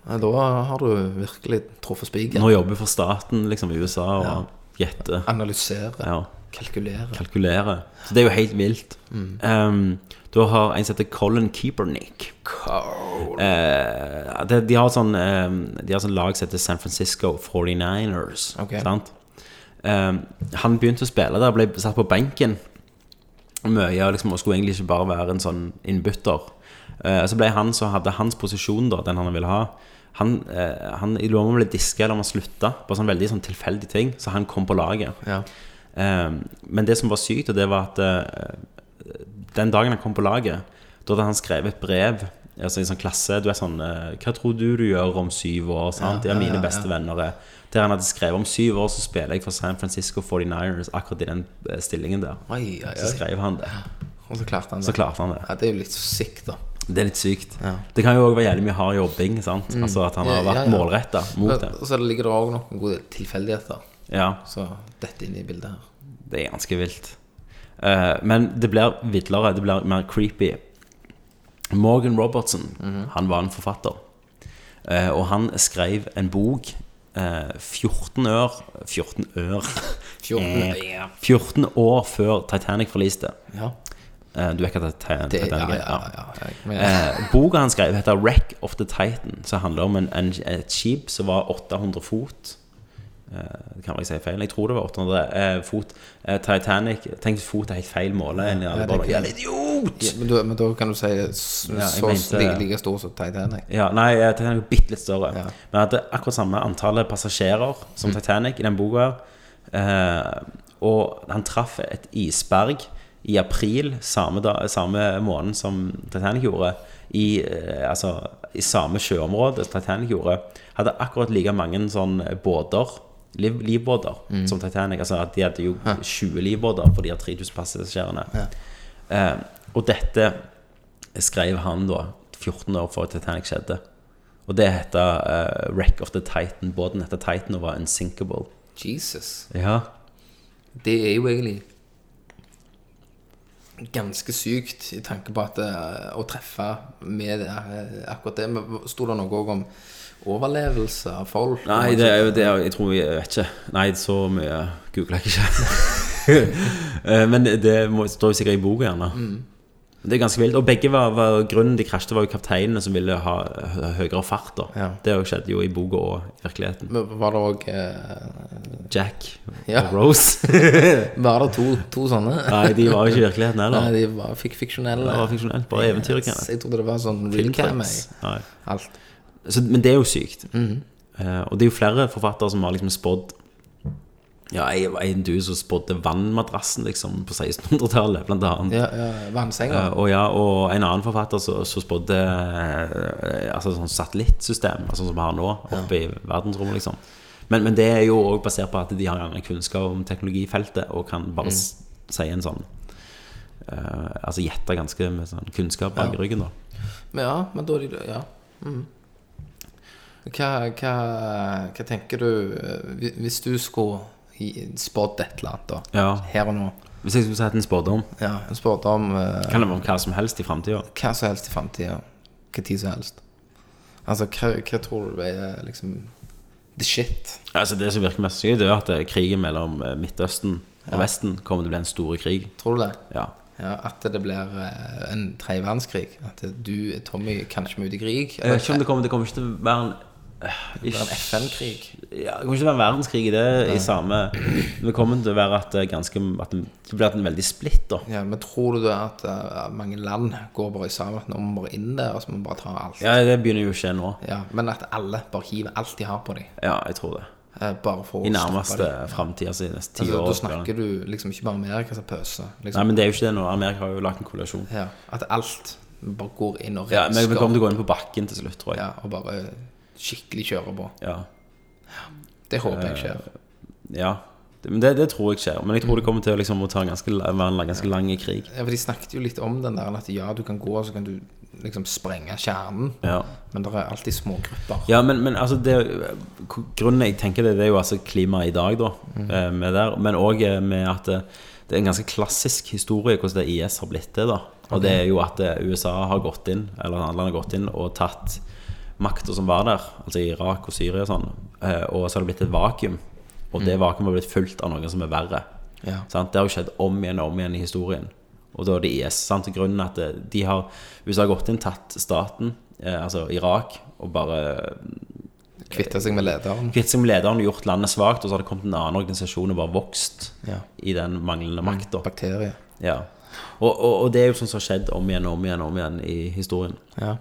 [SPEAKER 5] Nei, da har du virkelig truffet spiker.
[SPEAKER 1] Nå jobber hun for staten liksom, i USA og gjetter.
[SPEAKER 5] Analysere,
[SPEAKER 1] Ja.
[SPEAKER 5] kalkulere.
[SPEAKER 1] Kalkulerer. Så det er jo helt vilt. Um, da har en som heter Colin Keepernick. Ja, det, de, har sånn, eh, de har sånn lag som heter San Francisco 49ers.
[SPEAKER 5] Ok.
[SPEAKER 1] Sant? Eh, han begynte å spille der, ble satt på benken mye og liksom, og skulle egentlig ikke bare være en sånn innbytter. Eh, så ble han som hadde hans posisjon, da, den han ville ha Han, eh, han jeg lurer på om han ble diska eller om han slutta, på sånn veldig sånn tilfeldig ting. Så han kom på laget.
[SPEAKER 5] Ja.
[SPEAKER 1] Eh, men det som var sykt, og det var at eh, den dagen han kom på laget, da hadde han skrevet et brev. Altså i sånn klasse, du er sånn eh, Hva tror du du gjør om syv år? Sant?
[SPEAKER 5] Ja,
[SPEAKER 1] de er
[SPEAKER 5] ja,
[SPEAKER 1] mine
[SPEAKER 5] ja,
[SPEAKER 1] beste venner. er». Der han hadde skrevet om syv år, så spiller jeg for San Francisco 49ers akkurat i den eh, stillingen der.
[SPEAKER 5] Oi, oi,
[SPEAKER 1] Så
[SPEAKER 5] oi.
[SPEAKER 1] skrev han det.
[SPEAKER 5] Og så klarte han det.
[SPEAKER 1] Så klarte han det.
[SPEAKER 5] Ja, det er jo litt så sick, da.
[SPEAKER 1] Det er litt sykt.
[SPEAKER 5] Ja.
[SPEAKER 1] Det kan jo òg være jævlig mye hard jobbing. Sant? Altså at han har
[SPEAKER 5] Mm. Ja,
[SPEAKER 1] vært
[SPEAKER 5] ja, ja.
[SPEAKER 1] målretta mot det.
[SPEAKER 5] Og så ligger det òg noen gode tilfeldigheter.
[SPEAKER 1] Ja.
[SPEAKER 5] Så dette inne i bildet her.
[SPEAKER 1] Det er ganske vilt. Eh, men det blir villere, det blir mer creepy. Morgan Robertson,
[SPEAKER 5] Mhm.
[SPEAKER 1] han var en forfatter. Eh, og han skrev en bok eh, 14 år 14 år
[SPEAKER 5] 14.
[SPEAKER 1] Eh, 14 år før Titanic forliste.
[SPEAKER 5] Ja.
[SPEAKER 1] Eh, du vet hva Titan-
[SPEAKER 5] Det, ja,
[SPEAKER 1] Titanic er?
[SPEAKER 5] ja, ja, ja. Jeg- Men,
[SPEAKER 1] Eh, boka han skrev heter 'Wreck of the Titan', som handler om en, en, et skip som var 800 fot. Eh, det kan vel jeg si feil? Jeg tror det var 800 eh, fot. Eh, Titanic Tenk hvis fot er helt feil måle. Ja,
[SPEAKER 5] det
[SPEAKER 1] ja,
[SPEAKER 5] er
[SPEAKER 1] bare,
[SPEAKER 5] ikke-
[SPEAKER 1] «Jævla idiot!
[SPEAKER 5] ja, men, du, men da kan du si eh, s-
[SPEAKER 1] Ja, jeg
[SPEAKER 5] så
[SPEAKER 1] mente-
[SPEAKER 5] like, like stor som Titanic.
[SPEAKER 1] Ja, nei, eh, Titanic var bitte litt større.
[SPEAKER 5] Ja. Mm.
[SPEAKER 1] Men jeg hadde akkurat samme antallet passasjerer som Titanic i den boka. her. Eh, og han traff et isberg i april, samme, da, samme måned som Titanic gjorde. I, eh, altså, I samme sjøområde som Titanic gjorde. Hadde akkurat like mange sånn båter. Liv, livbåter
[SPEAKER 5] Mm.
[SPEAKER 1] som Titanic. Altså at De hadde jo 20 livbåter for de her 3000 passasjerene. Eh, og dette skrev han da 14 år før Titanic skjedde. Og det heter eh, Wreck of the Titan. Båten heter Titan og var unsinkable.
[SPEAKER 5] Jesus.
[SPEAKER 1] Ja.
[SPEAKER 5] Det er jo egentlig ganske sykt i tanke på at eh, å treffe med det, eh, akkurat det. Men Sto det noe også om overlevelse av folk?
[SPEAKER 1] Nei, det er jo det er, Jeg tror vi jeg vet ikke. Nei, så mye googler jeg ikke. Eh, Men det må, står jo sikkert i boka, gjerne. Det er ganske vilt. Og begge var, var grunnen de krasjet, var jo kapteinene som ville ha hø- høyere fart. da
[SPEAKER 5] Ja.
[SPEAKER 1] Det har jo skjedd jo i boka og i virkeligheten.
[SPEAKER 5] Men Var det òg eh,
[SPEAKER 1] Jack
[SPEAKER 5] Ja.
[SPEAKER 1] og Rose.
[SPEAKER 5] Var det to, to sånne?
[SPEAKER 1] Nei, de var jo ikke i virkeligheten heller.
[SPEAKER 5] Nei, de var, fikk fiksjonelle.
[SPEAKER 1] det var fiksjonelt. Bare eventyret.
[SPEAKER 5] Yes, Jeg trodde det var sånn real cam. jeg.
[SPEAKER 1] Nei.
[SPEAKER 5] Alt.
[SPEAKER 1] Så, men det er jo sykt. Eh, og det er jo flere forfattere som har liksom spådd Ja, jeg var en du som spådde vannmadrassen liksom på 1600-tallet, blant annet.
[SPEAKER 5] Ja, ja, Vannsenga.
[SPEAKER 1] Eh, og, ja, og en annen forfatter så- som spådde eh, altså sånn satellittsystem, altså som vi har nå, oppe i verdensrommet, liksom. Men, men det er jo også basert på at de har gjerne kunnskap om teknologifeltet og kan bare s- si en sånn eh, Altså gjette ganske med sånn kunnskap bak ryggen, da.
[SPEAKER 5] Men ja, men da er de Ja. mhm. Hva, hva, hva tenker du eh, hvi- Hvis du skulle gi- spådd et eller annet, da,
[SPEAKER 1] Ja.
[SPEAKER 5] her og nå
[SPEAKER 1] Hvis jeg skulle sagt en spådom
[SPEAKER 5] ja, Jeg spurte om eh,
[SPEAKER 1] Kan det være om hva som helst i framtida?
[SPEAKER 5] hva som helst i framtida. Hva tid som helst. Altså, hva, hva tror du er liksom the shit?
[SPEAKER 1] Altså, det som virker mest sykt, er jo at eh, krigen mellom eh, Midtøsten og Vesten kommer til å bli en stor krig.
[SPEAKER 5] Tror du det?
[SPEAKER 1] Ja.
[SPEAKER 5] Ja, At det blir eh, en tredje verdenskrig? At du, Tommy, kanskje må ut i krig?
[SPEAKER 1] Jeg
[SPEAKER 5] Eller
[SPEAKER 1] vet ikke om det kommer, det kommer ikke til å være en eh,
[SPEAKER 5] det blir en FN-krig?
[SPEAKER 1] Ja, det kommer ikke til å være en verdenskrig i det i samme Men det kommer til å være at det, er ganske, at det det blir at den er veldig splitt, da.
[SPEAKER 5] Ja, men tror du det at eh, mange land går bare sammen? Nå må vi bare inn der, og så må vi bare ta alt?
[SPEAKER 1] Ja, det begynner jo å skje nå.
[SPEAKER 5] Ja, men at alle bare hiver alt de har på dem. eh,
[SPEAKER 1] Ja, jeg tror det.
[SPEAKER 5] Bare for å
[SPEAKER 1] I
[SPEAKER 5] stoppe
[SPEAKER 1] nærmeste
[SPEAKER 5] dem.
[SPEAKER 1] framtid, altså i neste ti
[SPEAKER 5] Altså,
[SPEAKER 1] år.
[SPEAKER 5] Da snakker du liksom ikke bare Amerika som pøser.
[SPEAKER 1] Nei,
[SPEAKER 5] Liksom.
[SPEAKER 1] men det er jo ikke det nå. Amerika har jo lagt en koalisjon.
[SPEAKER 5] Ja, at alt bare går inn og
[SPEAKER 1] Ja, men vi kommer
[SPEAKER 5] rensker
[SPEAKER 1] til å gå inn på bakken til slutt, tror jeg.
[SPEAKER 5] ja, og bare eh, skikkelig kjører på.
[SPEAKER 1] Ja.
[SPEAKER 5] Det håper
[SPEAKER 1] Eh.
[SPEAKER 5] jeg skjer.
[SPEAKER 1] Ja, det- men det, det tror jeg skjer. Men jeg tror det kommer til å liksom, å ta en ganske, la- være en la- ganske lang krig.
[SPEAKER 5] Ja, for De snakket jo litt om den der at ja, du kan gå, og så kan du liksom sprenge kjernen.
[SPEAKER 1] Ja,
[SPEAKER 5] Men det er alltid smågrupper.
[SPEAKER 1] ja men, men altså det, Grunnen jeg tenker det, det er jo altså klimaet i dag, da. eh, Med der, men òg med at eh, det er en ganske klassisk historie hvordan det IS har blitt det. da Og det er jo at eh, USA har gått inn, eller et annet land har gått inn og tatt makta som var der, altså i Irak og Syria og sånn, eh, og så har det blitt et vakuum. Og det vakuumet har blitt fulgt av noe som er verre.
[SPEAKER 5] Ja.
[SPEAKER 1] Sant? Det har jo skjedd om igjen og om igjen i historien. Og da er det IS. Sant? Og Grunnen er at det- de har USA har gått inn, tatt staten, eh, altså Irak, og bare
[SPEAKER 5] Kvitte seg med lederen.
[SPEAKER 1] kvittet seg med lederen og gjort landet svakt, og så har det kommet en annen organisasjon og bare vokst
[SPEAKER 5] Ja.
[SPEAKER 1] i den manglende makta.
[SPEAKER 5] Bakterier.
[SPEAKER 1] Ja. Og, og, og det er jo sånn som har skjedd om igjen og om igjen og om igjen i historien.
[SPEAKER 5] Ja.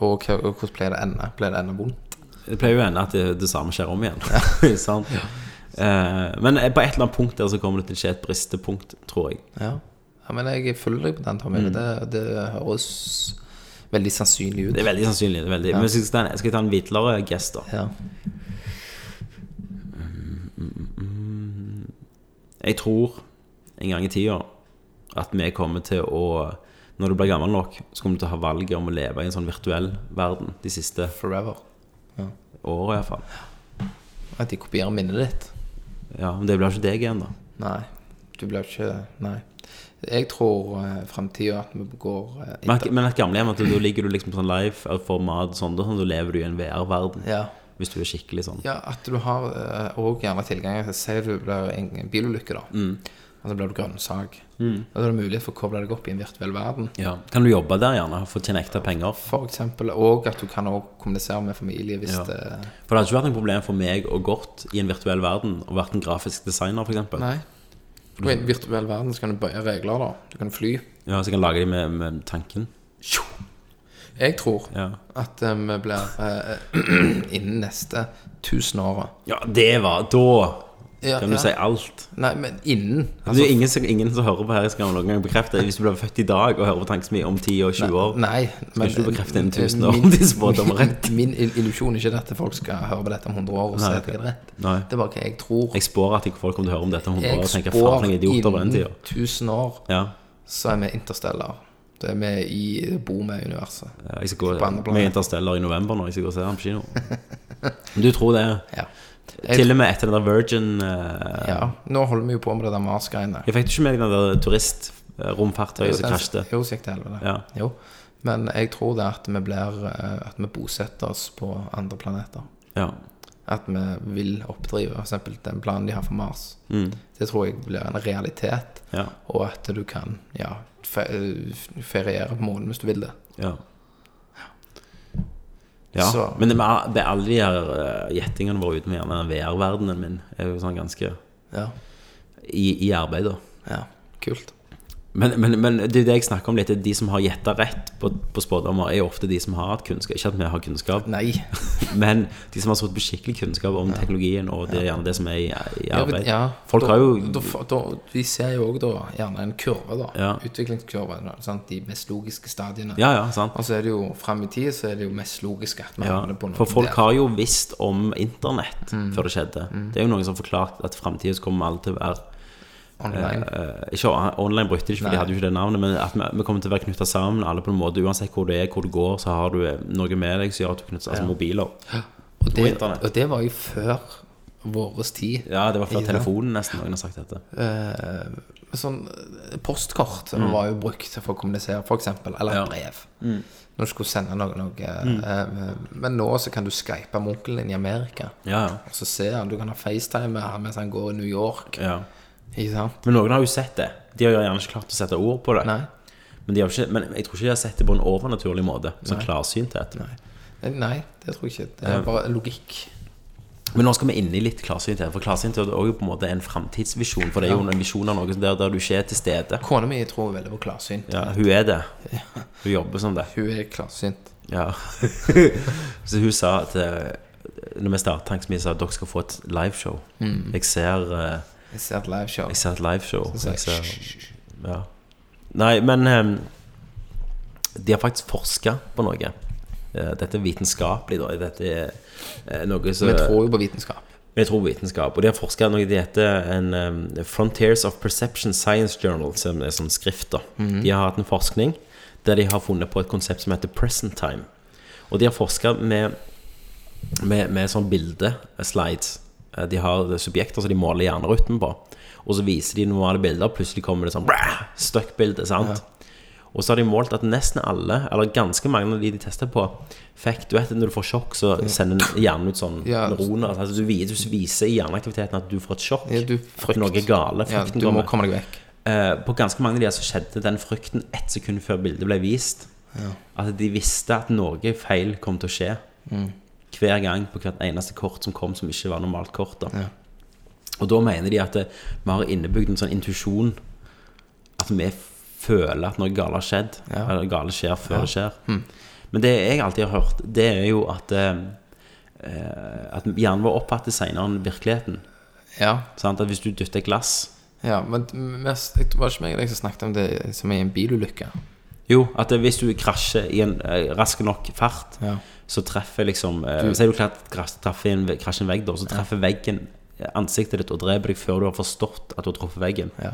[SPEAKER 5] Og, hva- og hvordan pleier det å ende? Pleier det å ende vondt?
[SPEAKER 1] Det pleier jo å ende at det, det samme skjer om igjen. Sant? Eh, men på et eller annet punkt der så kommer det til å skje et bristepunkt, tror jeg.
[SPEAKER 5] Ja. Mm. ja men jeg følger deg på den, Tommy. Det, det høres veldig sannsynlig ut.
[SPEAKER 1] Det er veldig sannsynlig. Det er veldig. Men skal jeg ta en- skal jeg ta en hvitlere gest, da?
[SPEAKER 5] Ja.
[SPEAKER 1] Mm. Jeg tror en gang i tida at vi kommer til å Når du blir gammel nok, så kommer du til å ha valget om å leve i en sånn virtuell verden de siste
[SPEAKER 5] Forever.
[SPEAKER 1] åra iallfall.
[SPEAKER 5] At de kopierer minnet ditt.
[SPEAKER 1] Ja, men det blir ikke deg igjen, da.
[SPEAKER 5] Nei. Du blir ikke Nei. Jeg tror uh, framtida at vi går eh,
[SPEAKER 1] Men, at- men at gamlehjem, at da ligger du liksom på sånn live-format, sånn, da sånn, da lever du i en VR-verden.
[SPEAKER 5] Ja.
[SPEAKER 1] Hvis du er skikkelig sånn.
[SPEAKER 5] ja, at du har òg gjerne tilgang til Si du blir en en bilulykke, da. Og så blir du grønnsak. Og da er det mulighet for å koble deg opp i en virtuell verden.
[SPEAKER 1] Ja. Kan du jobbe der, gjerne, for å tjene ekte penger?
[SPEAKER 5] For eksempel, og at du kan også kommunisere med familie hvis
[SPEAKER 1] Ja.
[SPEAKER 5] det
[SPEAKER 1] For det hadde ikke vært noe problem for meg og Gort i en virtuell verden å vært en grafisk designer, f.eks.
[SPEAKER 5] Nei. Og I en virtuell verden så kan du bøye regler, da. Du kan fly.
[SPEAKER 1] Ja, så jeg kan lage de med, med tanken.
[SPEAKER 5] Jeg tror
[SPEAKER 1] Ja.
[SPEAKER 5] at eh, vi blir eh, innen neste tusenåret.
[SPEAKER 1] Ja, det var Da
[SPEAKER 5] Ja,
[SPEAKER 1] kan du
[SPEAKER 5] ja. Altså,
[SPEAKER 1] si alt.
[SPEAKER 5] Nei, men innen.
[SPEAKER 1] Men det er jo ingen, som- ingen som hører på her, skal noen gang bekrefte Hvis du blir født i dag og hører på tanken min om 10 og 20 år
[SPEAKER 5] Nei. Men, eh,
[SPEAKER 1] ikke du bekrefte innen tusen
[SPEAKER 5] min-
[SPEAKER 1] år om de spådommer er rett?
[SPEAKER 5] Min ill- illusjon er ikke at folk skal høre på dette om 100 år og si
[SPEAKER 1] Nei,
[SPEAKER 5] at jeg er rett.
[SPEAKER 1] Nei.
[SPEAKER 5] Det er bare hva jeg tror.
[SPEAKER 1] Jeg spår at ikke folk kommer til å høre om dette om 100 år og tenker faen for
[SPEAKER 5] spår
[SPEAKER 1] noen idioter på den tida.
[SPEAKER 5] innen 1000 år
[SPEAKER 1] Ja.
[SPEAKER 5] så er vi interstellar. Da er vi i bor med universet.
[SPEAKER 1] Ja, Eh, Jeg skal gå
[SPEAKER 5] På andre planet.
[SPEAKER 1] med Interstellar i november nå. Jeg skal gå og se den på kino. Men Du tror det?
[SPEAKER 5] Ja.
[SPEAKER 1] Til og med etter den der Virgin eh,
[SPEAKER 5] ja. Nå holder vi jo på med det der Mars-greiene.
[SPEAKER 1] Jeg fikk ikke med meg den der turistromfartøyet som
[SPEAKER 5] den-
[SPEAKER 1] krasjet.
[SPEAKER 5] Jo, så gikk til helvete.
[SPEAKER 1] Ja.
[SPEAKER 5] Jo. Men jeg tror det er at vi blir eh, At vi bosetter oss på andre planeter.
[SPEAKER 1] Ja.
[SPEAKER 5] at vi vil oppdrive f.eks. den planen de har for Mars. Det tror jeg blir en realitet.
[SPEAKER 1] Mm, Ja.
[SPEAKER 5] Og at du kan ja, fe- f- feriere på månen hvis du vil det.
[SPEAKER 1] Ja. Ja,
[SPEAKER 5] Så-
[SPEAKER 1] Men det med, a- det er alle de her eh, gjettingene våre utenfor gjerne den VR-verdenen min er jo sånn ganske
[SPEAKER 5] Ja.
[SPEAKER 1] i, i arbeid, da.
[SPEAKER 5] ja. Kult.
[SPEAKER 1] Men, men, men det er jo det jeg snakker om litt, det er de som har gjetta rett på, på spådommer, er jo ofte de som har hatt kunnskap. Ikke at vi har kunnskap,
[SPEAKER 5] Nei.
[SPEAKER 1] men de som har sittet på skikkelig kunnskap om teknologien, og det er gjerne det som er i, i arbeid.
[SPEAKER 5] Ja,
[SPEAKER 1] Folk
[SPEAKER 5] da,
[SPEAKER 1] har jo
[SPEAKER 5] da, f- da, Vi ser jo òg da gjerne en kurve, da.
[SPEAKER 1] Ja.
[SPEAKER 5] Utviklingskurve. da, Sant? De mest logiske stadiene.
[SPEAKER 1] Ja, ja, sant.
[SPEAKER 5] Og så er det jo fram i tid så er det jo mest logisk at man
[SPEAKER 1] Ja,
[SPEAKER 5] har det på Mm. noe
[SPEAKER 1] for folk
[SPEAKER 5] der.
[SPEAKER 1] har jo visst om internett før det skjedde. Det er jo noen som har forklart at framtida kommer alt til å være
[SPEAKER 5] online.
[SPEAKER 1] Eh, ikke on- online brukte de ikke, for de
[SPEAKER 5] Nei.
[SPEAKER 1] hadde jo ikke det navnet, men at vi, vi kommer til å være knytta sammen, alle på en måte. Uansett hvor du er, hvor du går, så har du eh, noe med deg som gjør at du knytter altså mobiler.
[SPEAKER 5] Og det,
[SPEAKER 1] internett.
[SPEAKER 5] og det var jo før vår tid.
[SPEAKER 1] Ja, det var fra
[SPEAKER 5] Ikke sant?
[SPEAKER 1] telefonen nesten noen har sagt dette.
[SPEAKER 5] Eh, sånn eh, postkort var jo brukt for å kommunisere, f.eks.
[SPEAKER 1] Mm.
[SPEAKER 5] Eller
[SPEAKER 1] Ja. Mm.
[SPEAKER 5] et brev. Når du skulle sende noe. noe eh, men nå så kan du skype med onkelen din i Amerika.
[SPEAKER 1] Ja, ja.
[SPEAKER 5] Og så se han, Du kan ha FaceTime med han mens han går i New York.
[SPEAKER 1] ja.
[SPEAKER 5] Ikke sant?
[SPEAKER 1] Men noen har jo sett det. De har jo gjerne ikke klart å sette ord på det.
[SPEAKER 5] Nei.
[SPEAKER 1] Men, de har jo ikke, men jeg tror ikke de har sett det på en overnaturlig måte. Sånn klarsynthet.
[SPEAKER 5] Eh, Nei, det tror jeg ikke. Det er bare logikk.
[SPEAKER 1] Men nå skal vi inn i litt klarsynthet. For klarsynthet er jo på en måte en framtidsvisjon. For det er jo en visjon av noe der, der du ikke er til stede.
[SPEAKER 5] Kona mi tror veldig på klarsynt.
[SPEAKER 1] Ja, hun er det. Hun jobber som det.
[SPEAKER 5] Hun er klarsynt.
[SPEAKER 1] Ja. så hun sa at eh, Når vi startet Tanksmi, sa at dere skal få et liveshow.
[SPEAKER 5] Mm.
[SPEAKER 1] Jeg ser eh,
[SPEAKER 5] Jeg ser et liveshow.
[SPEAKER 1] Jeg ser et liveshow.
[SPEAKER 5] Så
[SPEAKER 1] Jeg
[SPEAKER 5] sier jeg,
[SPEAKER 1] ser,
[SPEAKER 5] «Hysj, hysj, hysj».
[SPEAKER 1] ja. Nei, men eh, de har faktisk forska på noe. Eh, Dette er vitenskapelig, da. Dette er eh, noe som
[SPEAKER 5] Vi tror jo på vitenskap.
[SPEAKER 1] jeg tror vitenskap. Og de har forska noe de heter en um, Frontiers of Perception Science Journal, som er som skrift. da.
[SPEAKER 5] Mm.
[SPEAKER 1] De har hatt en forskning der de har funnet på et konsept som heter present time. Og de har forska med, med, med sånn bildeslides. Eh, De har subjekter som de måler hjernerytmen på. Og så viser de normale bilder, og plutselig kommer det sånn brah, stuck-bilde. sant? Og så har de målt at nesten alle, eller ganske mange av de de testa på, fikk Du vet når du får sjokk, så sender hjernen ut sånn
[SPEAKER 5] Ja.
[SPEAKER 1] neuroner. Altså, du, viser, du viser i hjerneaktiviteten at du får et sjokk.
[SPEAKER 5] Ja, du
[SPEAKER 1] at
[SPEAKER 5] frykt.
[SPEAKER 1] noe er gale.
[SPEAKER 5] Ja,
[SPEAKER 1] Frykten
[SPEAKER 5] du må
[SPEAKER 1] kommer.
[SPEAKER 5] komme deg vekk.
[SPEAKER 1] Eh, på ganske mange av de her så skjedde den frykten ett sekund før bildet ble vist. At de visste at noe feil kom til å skje.
[SPEAKER 5] Mm.
[SPEAKER 1] Hver gang på hvert eneste kort som kom som ikke var normalt kort. Da.
[SPEAKER 5] Ja.
[SPEAKER 1] Og da mener de at eh, vi har innebygd en sånn intuisjon at vi føler at noe galt har skjedd.
[SPEAKER 5] Ja. Hm.
[SPEAKER 1] Eller gale skjer før det skjer. Men det jeg alltid har hørt, det er jo at eh, eh, At hjernen vår oppfatter senere enn virkeligheten.
[SPEAKER 5] Ja,
[SPEAKER 1] Sant? At hvis du dytter et glass
[SPEAKER 5] ja men mest, jeg var det ikke meg og deg som snakket om det som er i en bilulykke.
[SPEAKER 1] Jo, at det- hvis du krasjer i en eh, rask nok fart,
[SPEAKER 5] Ja.
[SPEAKER 1] så treffer liksom eh, Si du klart kras- treffer i en, ve- krasjer i en vegg, da, så treffer veggen eh, ansiktet ditt og dreper deg før du har forstått at du har truffet veggen.
[SPEAKER 5] Ja.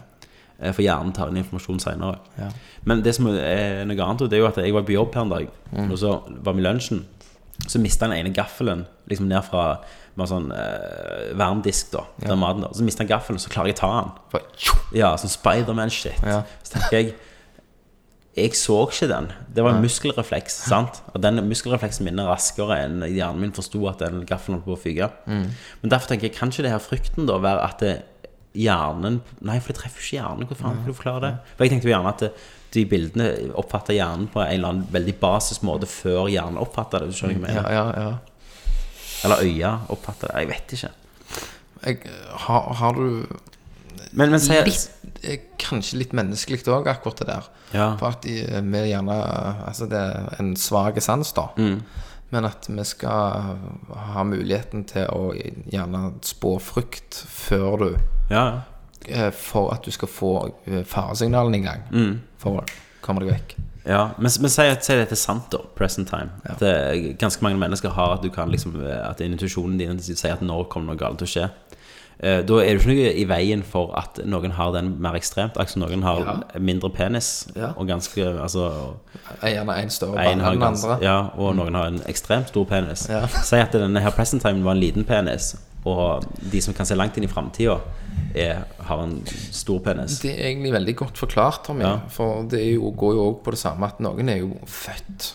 [SPEAKER 1] Eh, For hjernen tar inn informasjon seinere.
[SPEAKER 5] Ja.
[SPEAKER 1] Men det som er noe annet, og det er jo at jeg var på jobb her en dag, og så var vi i lunsjen. Så mista han ene gaffelen liksom ned fra med en sånn eh, verndisk. da, der maten, da. Så mista han gaffelen, så klarer jeg å ta den.
[SPEAKER 5] For, tjo!
[SPEAKER 1] Ja, sånn Spiderman-shit.
[SPEAKER 5] Ja.
[SPEAKER 1] Så tenker jeg Jeg så ikke den. Det var en muskelrefleks. sant? Og den muskelrefleksen min er raskere enn hjernen min forsto at den gaffelen holdt på å fyke. Men derfor tenker jeg, kan ikke det her frykten da være at det, hjernen Nei, for det treffer jo ikke hjernen. Hvordan faen kan du forklare det? For jeg tenkte jo gjerne at det, de bildene oppfatter hjernen på en eller annen veldig basis måte før hjernen oppfatter det. Du skjønner hva jeg
[SPEAKER 5] ja,
[SPEAKER 1] mener?
[SPEAKER 5] ja, ja.
[SPEAKER 1] Eller øya oppfatter det. Jeg vet ikke.
[SPEAKER 5] Jeg, har, har du
[SPEAKER 1] Men, men sier-
[SPEAKER 5] litt eh, Kanskje litt menneskelig òg, akkurat det der.
[SPEAKER 1] Ja.
[SPEAKER 5] For at de- vi gjerne Altså, det er en svak sans, da.
[SPEAKER 1] Mm.
[SPEAKER 5] Men at vi skal ha muligheten til å gjerne spå frykt før du
[SPEAKER 1] ja.
[SPEAKER 5] eh, For at du skal få eh, faresignalene i gang.
[SPEAKER 1] Mm.
[SPEAKER 5] For å komme deg vekk.
[SPEAKER 1] Ja, men, men si at si dette er sant, da. Present time. At eh, ganske mange mennesker har at du kan liksom eh, At intuisjonen din sier at nå kommer noe galt til å skje. Eh, da er det ikke noe i veien for at noen har den mer ekstremt. Altså noen har mindre penis
[SPEAKER 5] Ja.
[SPEAKER 1] og ganske Altså
[SPEAKER 5] Gjerne én større
[SPEAKER 1] en
[SPEAKER 5] barn
[SPEAKER 1] har
[SPEAKER 5] enn den
[SPEAKER 1] gans,
[SPEAKER 5] andre. Mm.
[SPEAKER 1] ja, og noen har en ekstremt stor penis.
[SPEAKER 5] Ja.
[SPEAKER 1] Si at denne her present time var en liten penis, Og de som kan se langt inn i framtida, har en stor penis.
[SPEAKER 5] Det er egentlig veldig godt forklart, Tommy.
[SPEAKER 1] Ja.
[SPEAKER 5] For det er jo, går jo òg på det samme at noen er jo født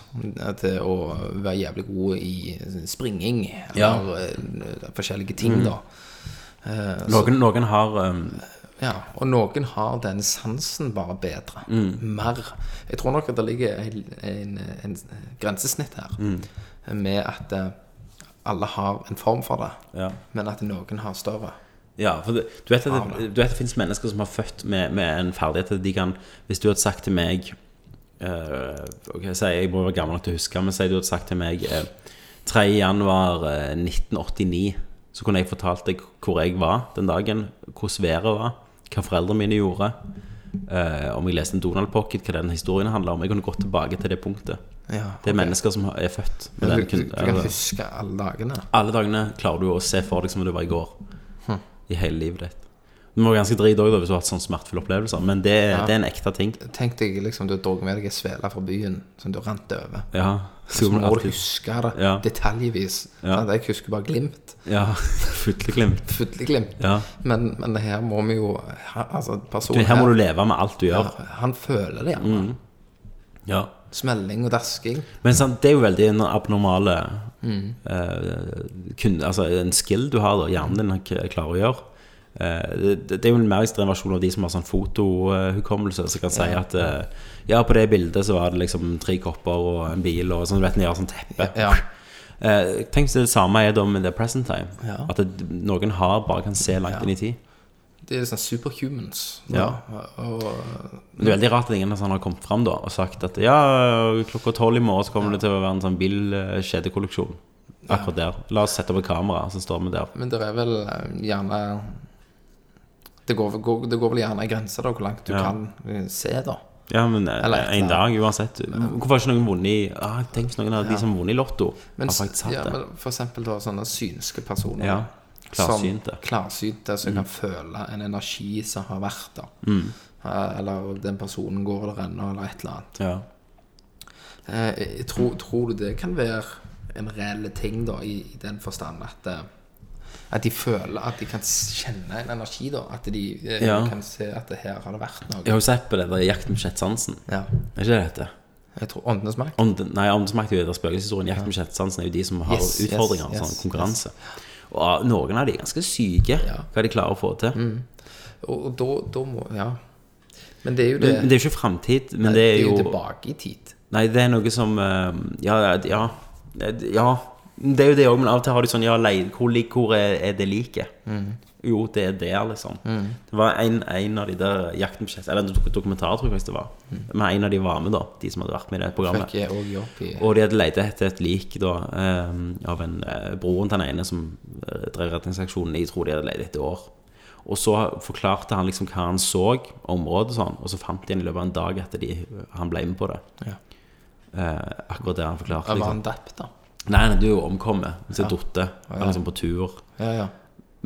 [SPEAKER 5] til å være jævlig gode i springing
[SPEAKER 1] Ja. Mm.
[SPEAKER 5] eller eh, forskjellige ting, da. Eh, så,
[SPEAKER 1] Noen, noen har um,
[SPEAKER 5] ja. Og noen har den sansen bare bedre.
[SPEAKER 1] Mm.
[SPEAKER 5] Mer. Jeg tror nok at det ligger en, en, en grensesnitt her
[SPEAKER 1] Mm.
[SPEAKER 5] med at eh, alle har en form for det,
[SPEAKER 1] Ja.
[SPEAKER 5] men at noen har større.
[SPEAKER 1] Ja, for det, du, vet at det, du vet at det finnes mennesker som har født med, med en ferdighet at de kan Hvis du hadde sagt til meg eh, ok, si, Jeg må være gammel nok til å huske, men si du hadde sagt til meg eh, 3. januar eh, 1989, så kunne jeg fortalt deg hvor jeg var den dagen, hvordan været var, hva foreldrene mine gjorde, eh, om jeg leste en Donald Pocket, hva den historien handler om. Jeg kunne gått tilbake til det punktet.
[SPEAKER 5] Ja,
[SPEAKER 1] Det er
[SPEAKER 5] ok.
[SPEAKER 1] mennesker som har- er født med
[SPEAKER 5] Men
[SPEAKER 1] den
[SPEAKER 5] du, du, du
[SPEAKER 1] kun-
[SPEAKER 5] kan
[SPEAKER 1] eller-
[SPEAKER 5] huske alle dagene.
[SPEAKER 1] alle dagene klarer du å se for deg som om det var i går. I hele livet ditt. Du må være ganske drit òg hvis du har hatt sånn smertefulle opplevelser, men det, det er en ekte ting.
[SPEAKER 5] Tenk deg liksom du har drukket med deg en svele fra byen som du rant over.
[SPEAKER 1] Ja.
[SPEAKER 5] Så må du
[SPEAKER 1] alltid-
[SPEAKER 5] huske det
[SPEAKER 1] Ja.
[SPEAKER 5] detaljvis.
[SPEAKER 1] Ja.
[SPEAKER 5] Sant? Jeg husker bare glimt.
[SPEAKER 1] Ja. Futleglimt.
[SPEAKER 5] Fulle glimt.
[SPEAKER 1] Ja.
[SPEAKER 5] Men, men her må vi jo her, Altså,
[SPEAKER 1] Du,
[SPEAKER 5] personen
[SPEAKER 1] her må du Mm. leve med alt du gjør.
[SPEAKER 5] her, han føler det gjerne.
[SPEAKER 1] Ja.
[SPEAKER 5] Smelling og dasking.
[SPEAKER 1] Men sant, det er jo veldig en abnormale
[SPEAKER 5] Mm.
[SPEAKER 1] eh, kun, Altså en skill du har, da. Hjernen din k- klarer å gjøre. Eh, det, det er jo en mer ekstrem versjon av de som har sånn fotohukommelse, som kan si at eh, Ja, på det bildet så var det liksom tre kopper og en bil og sånn, du vet, de har sånn teppe.
[SPEAKER 5] Ja.
[SPEAKER 1] Eh, tenk hvis det samme er da med The Present Time.
[SPEAKER 5] Ja.
[SPEAKER 1] At det, noen har bare kan se langt
[SPEAKER 5] Ja.
[SPEAKER 1] inn i tid.
[SPEAKER 5] Det er sånn superhumans.
[SPEAKER 1] Ja.
[SPEAKER 5] Og,
[SPEAKER 1] Men det er veldig rart at ingen av sånne har kommet fram da og sagt at ja, klokka tolv i morgen så kommer det til å være en sånn bilkjedekolleksjon. Akkurat der. La oss sette opp et kamera, så står vi der.
[SPEAKER 5] men det er vel eh, gjerne det går, vel- går, det går vel gjerne en grense da, hvor langt du
[SPEAKER 1] Ja.
[SPEAKER 5] kan eh, se, da.
[SPEAKER 1] Ja, men eh,
[SPEAKER 5] Eller et
[SPEAKER 1] en
[SPEAKER 5] eller
[SPEAKER 1] dag uansett. Hvorfor har ikke noen vunnet i ah, Tenk hvis noen av de som har vunnet i Lotto,
[SPEAKER 5] Men,
[SPEAKER 1] har faktisk hatt
[SPEAKER 5] ja,
[SPEAKER 1] det.
[SPEAKER 5] men for eksempel da, sånne synske personer.
[SPEAKER 1] Ja. Klarsynte. Mm.
[SPEAKER 5] Som, klarsynte, som kan føle en energi som har vært der. Eh, Eller den personen går der ennå, eller et eller annet.
[SPEAKER 1] Ja.
[SPEAKER 5] Eh, Jeg tror, tror du det kan være en reell ting, da, i, i den forstand at eh, at de føler at de kan s- kjenne en energi, da. At de eh,
[SPEAKER 1] Ja.
[SPEAKER 5] kan se at det her har det vært
[SPEAKER 1] Jeg
[SPEAKER 5] noe.
[SPEAKER 1] har jo sett på det der Jakten på sjettsansen.
[SPEAKER 5] Ja.
[SPEAKER 1] Er ikke det det heter?
[SPEAKER 5] Jeg tror Åndenes makt.
[SPEAKER 1] Ånden- Nei, åndesmaktighet og spøkelseshistorien Jakt med kjettsansen er jo de som har
[SPEAKER 5] Yes, yes,
[SPEAKER 1] utfordringer,
[SPEAKER 5] yes,
[SPEAKER 1] sånn konkurranse. Og ah, noen av de er ganske syke, hva de klarer å få til.
[SPEAKER 5] Og, og da, da må Ja. Men det er jo det,
[SPEAKER 1] Men, men det er jo ikke framtid, men det er jo
[SPEAKER 5] tilbake i tid.
[SPEAKER 1] Nei, det er noe som eh, Ja, ja. ja det er jo det òg, men av og til har de sånn Ja, lei- hvor, lig- hvor er, er det liket? Jo, det er der, liksom. Det var en, en av de der jakten på kjett Eller en dok- dokumentar, tror jeg faktisk det var. Men en av de var med, da. De som hadde vært med i det programmet.
[SPEAKER 5] Fikk jeg òg jobb i
[SPEAKER 1] Og de hadde leid etter et lik da, eh, av en eh, broren til den ene som eh, drev redningsaksjonen. Jeg tror de hadde leid etter år. Og så forklarte han liksom hva han så, området og sånn, og så fant de en i løpet av en dag etter de, han ble med på det.
[SPEAKER 5] ja.
[SPEAKER 1] Eh, akkurat det han forklarte.
[SPEAKER 5] Jeg var
[SPEAKER 1] Liksom.
[SPEAKER 5] han dapp, da.
[SPEAKER 1] Nei, nei, du er jo omkommet. Så ja. dotte. Han er liksom på tur.
[SPEAKER 5] Ja, ja.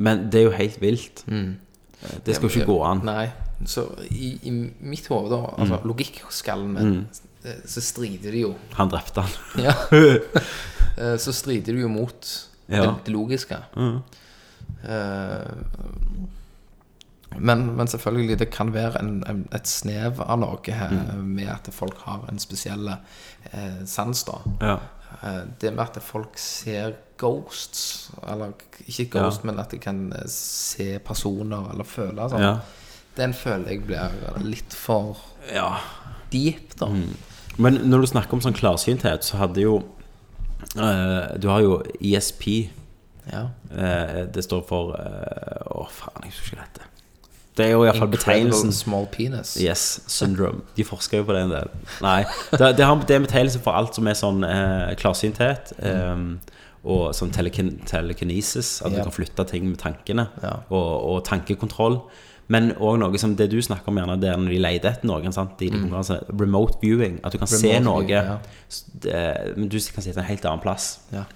[SPEAKER 1] Men det er jo helt vilt. Eh, Det skal jo ikke gå an. Mm.
[SPEAKER 5] Nei. Så i, i mitt hode, da, altså logikkskallene, eh, så strider det jo
[SPEAKER 1] Han drepte han.
[SPEAKER 5] ja. Eh, Så strider det jo mot
[SPEAKER 1] Ja. Mm.
[SPEAKER 5] det, det logiske. Eh, men, men selvfølgelig, det kan være en, en, et snev av noe her
[SPEAKER 1] Mm.
[SPEAKER 5] med at folk har en spesiell eh, sans, da.
[SPEAKER 1] Ja.
[SPEAKER 5] Eh, Det med at folk ser ghosts Eller ikke ghost, men at de kan eh, se personer eller føle sånn.
[SPEAKER 1] Ja.
[SPEAKER 5] Den føler jeg blir litt for
[SPEAKER 1] ja.
[SPEAKER 5] deep, da.
[SPEAKER 1] Mm. Men når du snakker om sånn klarsynthet, så hadde jo eh, Du har jo ISP.
[SPEAKER 5] Ja.
[SPEAKER 1] Eh, det står for eh, Å, faen, jeg husker ikke dette. Det er jo iallfall
[SPEAKER 5] Incredible
[SPEAKER 1] betegnelsen
[SPEAKER 5] Small penis.
[SPEAKER 1] Yes, syndrome. De forsker jo på det en del. Nei, det, det, har, det er en betegnelse for alt som er sånn eh, klarsynthet.
[SPEAKER 5] Mm.
[SPEAKER 1] Eh, og sånn telekin telekinesis, at
[SPEAKER 5] Ja.
[SPEAKER 1] du kan flytte ting med tankene.
[SPEAKER 5] Ja.
[SPEAKER 1] Og, og tankekontroll. Men òg noe som det du snakker om, gjerne der når de leter etter noen. Sant? I de konkurransene. Remote viewing. At du kan se
[SPEAKER 5] Mm. Remote
[SPEAKER 1] noe,
[SPEAKER 5] viewing, ja.
[SPEAKER 1] s- det, men du kan sitte en helt annen plass.
[SPEAKER 5] Ja.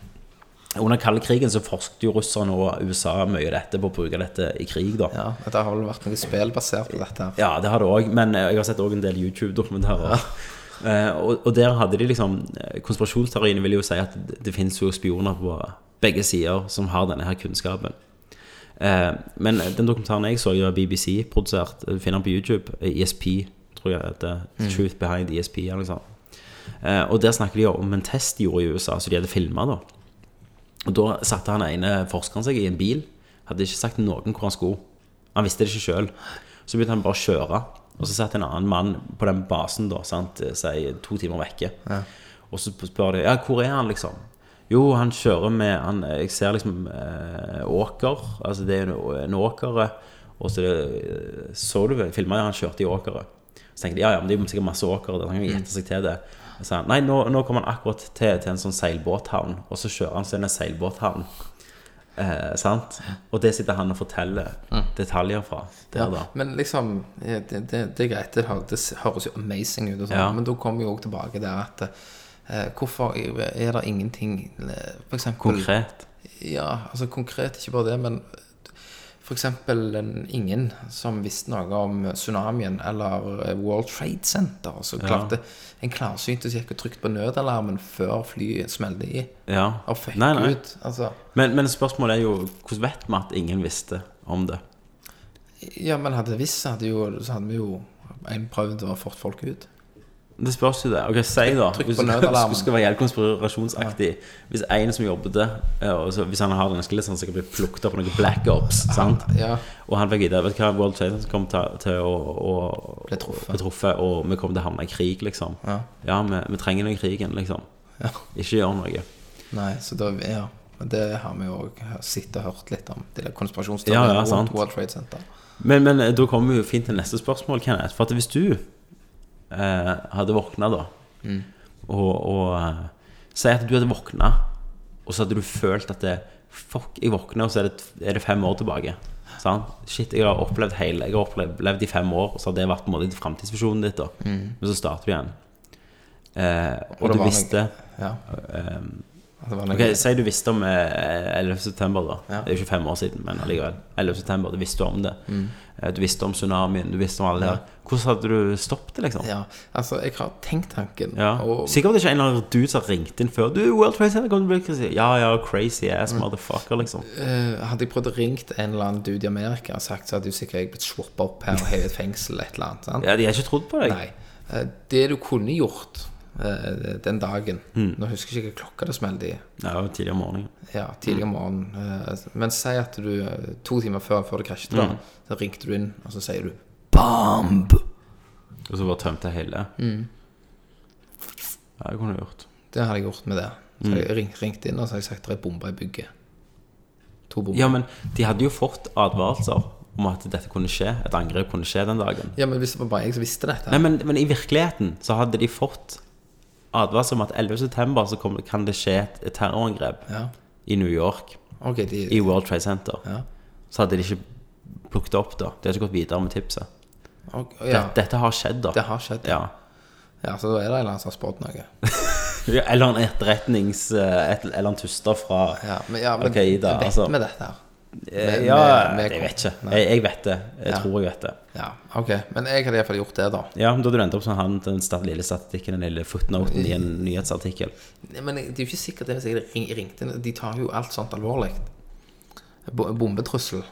[SPEAKER 1] Under kalde krigen så forsket jo russerne og USA mye av dette på å bruke dette i krig, da.
[SPEAKER 5] Ja, Det har vel vært noe spill basert på dette. her
[SPEAKER 1] Ja, det har det òg, men eh, jeg har sett også en del YouTube-dokumentarer. Eh, og, og der hadde de liksom eh, Konspirasjonsteoriene vil jo si at det, det finnes jo spioner på begge sider som har denne her kunnskapen. Eh, men den dokumentaren jeg så, det var BBC-produsert. Du finner den på YouTube. eh, ESP, tror jeg det heter. Truth Behind ESP. Eller noe sånt. Eh, og der snakker de om en test de gjorde i USA, så de hadde filma. Da Og da satte han ene forskeren seg i en bil. Hadde ikke sagt noen hvor han skulle. Han visste det ikke sjøl. Så begynte han bare å kjøre. Og så satt en annen mann på den basen, da, sant? Si, to timer vekke. Og så spør de ja, hvor er han liksom. Jo, han kjører med han, Jeg ser liksom eh, åker. Altså det er en, en åkere. Og så er det, så du filma han kjørte i åkere. Så tenkte de ja, ja, men det er jo sikkert masse åkere der. så Han
[SPEAKER 5] Mm.
[SPEAKER 1] kan jo gjette seg til det. Og Så sa han nei, nå, nå kommer han akkurat til, til en sånn seilbåthavn. Og så kjører han til en seilbåthavn. Eh, sant? Og det sitter han og forteller
[SPEAKER 5] Mm.
[SPEAKER 1] detaljer fra. Der, da.
[SPEAKER 5] Men liksom, eh, det, det, det er greit, det, hø- det høres jo amazing ut, og sånn,
[SPEAKER 1] Ja.
[SPEAKER 5] men da kommer vi jo også tilbake der at eh, hvorfor er det ingenting eh, for eksempel,
[SPEAKER 1] Konkret.
[SPEAKER 5] Ja, altså konkret, ikke bare det, men f.eks. ingen som visste noe om tsunamien eller eh, World Trade Center. Så klarte en klarsynt som gikk og trykte på nødalarmen før flyet smelte i.
[SPEAKER 1] Ja.
[SPEAKER 5] Og fikk
[SPEAKER 1] Nei, nei.
[SPEAKER 5] ut. Altså,
[SPEAKER 1] Men, men spørsmålet er jo hvordan vet vi at ingen visste om det?
[SPEAKER 5] ja, men hadde visst, så hadde, jo, så hadde vi jo en prøvd å fått folk ut.
[SPEAKER 1] Det spørs jo det. Ok, Si, da.
[SPEAKER 5] Trykk
[SPEAKER 1] Hvis
[SPEAKER 5] på
[SPEAKER 1] du
[SPEAKER 5] nødalarmen.
[SPEAKER 1] skulle være helt konspirasjonsaktig Hvis en som jobbet eh, og så- Hvis han har den skillet, så han sikkert blir plukket opp av noen black ops. Sant?
[SPEAKER 5] Ja.
[SPEAKER 1] Og han fikk vite Vet du hva, World Trade Center kommer til, til å, å
[SPEAKER 5] Ble truffet.
[SPEAKER 1] ble truffet, og vi kommer til å havne i krig, liksom.
[SPEAKER 5] Ja.
[SPEAKER 1] vi, vi trenger den krigen, liksom.
[SPEAKER 5] Ja.
[SPEAKER 1] Ikke gjør noe.
[SPEAKER 5] Nei, så da ja. Men det har vi jo også sett og hørt litt om. De der
[SPEAKER 1] Ja,
[SPEAKER 5] konspirasjonsteoriene
[SPEAKER 1] ja, sant.
[SPEAKER 5] rundt World Trade Center.
[SPEAKER 1] Men, men eh, da kommer vi jo fint til neste spørsmål, Kenneth. For at hvis du eh, hadde våkna da,
[SPEAKER 5] Mm.
[SPEAKER 1] og, og eh, Si at du hadde våkna, og så hadde du følt at det, Fuck, jeg våkna, og så er det, er det fem år tilbake. Sant? Shit, jeg har opplevd hele Jeg har opplevd levd i fem år, og så har det vært på en måte framtidsvisjonen ditt. da
[SPEAKER 5] Mm.
[SPEAKER 1] Men så starter du igjen. Eh, og
[SPEAKER 5] det
[SPEAKER 1] du
[SPEAKER 5] var noe-
[SPEAKER 1] visste
[SPEAKER 5] Ja. At det var noe
[SPEAKER 1] Ok, Si du visste om eh, 11. september, da.
[SPEAKER 5] Ja.
[SPEAKER 1] Det er jo ikke fem år siden, men allikevel. 11. september, du visste om det.
[SPEAKER 5] Mm.
[SPEAKER 1] Eh, Du visste om tsunamien, du visste om alle det her. Hvordan hadde du stoppet det, liksom? Ja.
[SPEAKER 5] Ja, altså, jeg har tenkt tanken. Og,
[SPEAKER 1] Sikkert ikke en eller annen dude som har ringt inn før. Du, World Trade Center kommer til å bli krise. Ja, ja, crazy ass motherfucker, liksom.
[SPEAKER 5] eh, hadde jeg prøvd å ringt en eller annen dude i Amerika og sagt, så hadde jo sikkert jeg blitt swappet opp her og hevet i fengsel et eller annet. sant?
[SPEAKER 1] Ja, de har ikke trodd på deg.
[SPEAKER 5] Nei. Eh, Det du kunne gjort eh, den dagen
[SPEAKER 1] Mm.
[SPEAKER 5] Nå husker jeg ikke hva klokka det smelte i.
[SPEAKER 1] Ja, det var tidligere om morgenen.
[SPEAKER 5] Ja, tidlig om morgenen. eh, Men si at du eh, to timer før, før det krasjet,
[SPEAKER 1] Mm.
[SPEAKER 5] da, så ringte du inn, og så sier du BAMB!
[SPEAKER 1] Og så bare tømte jeg hele. Ja, det kunne du gjort.
[SPEAKER 5] Det hadde jeg gjort med det. Så
[SPEAKER 1] Mm.
[SPEAKER 5] hadde jeg ring, ringt inn og så hadde jeg sagt det er bomber i bygget. To bomber.
[SPEAKER 1] Ja, men de hadde jo fått advarsler om at dette kunne skje. Et angrep kunne skje den dagen.
[SPEAKER 5] Ja, men hvis det var bare jeg som visste dette
[SPEAKER 1] Nei, men, men i virkeligheten så hadde de fått advarsel om at 11. september så kom, kan det skje et et terrorangrep
[SPEAKER 5] Ja.
[SPEAKER 1] i New York,
[SPEAKER 5] Ok, de,
[SPEAKER 1] i World Trade Center.
[SPEAKER 5] Ja.
[SPEAKER 1] Så hadde de ikke plukket opp da. De hadde ikke gått videre med tipset.
[SPEAKER 5] ok, ja,
[SPEAKER 1] Dette, dette har skjedd da.
[SPEAKER 5] det har skjedd.
[SPEAKER 1] Ja.
[SPEAKER 5] Ja, så da er det en eller annen som har spådd noe.
[SPEAKER 1] Ja, Eller en etterretnings... eh, Et, eller en tuster fra...
[SPEAKER 5] Ja, men, ja, men
[SPEAKER 1] Ok, Ida,
[SPEAKER 5] vet
[SPEAKER 1] altså.
[SPEAKER 5] vi dette her?
[SPEAKER 1] Eh,
[SPEAKER 5] vi-
[SPEAKER 1] ja,
[SPEAKER 5] vi- vi-
[SPEAKER 1] jeg vet ikke. Jeg, jeg vet det. Jeg tror jeg vet det.
[SPEAKER 5] Ja, ok. Men jeg hadde iallfall gjort det, da.
[SPEAKER 1] Ja, men da hadde du endt opp som han, den stat- lille statistikken, den lille footnoten i en nyhetsartikkel.
[SPEAKER 5] Nei, Men det er jo ikke sikkert det hvis jeg ring, ringte inn. De tar jo alt sånt alvorlig. Bo- Bombetrussel.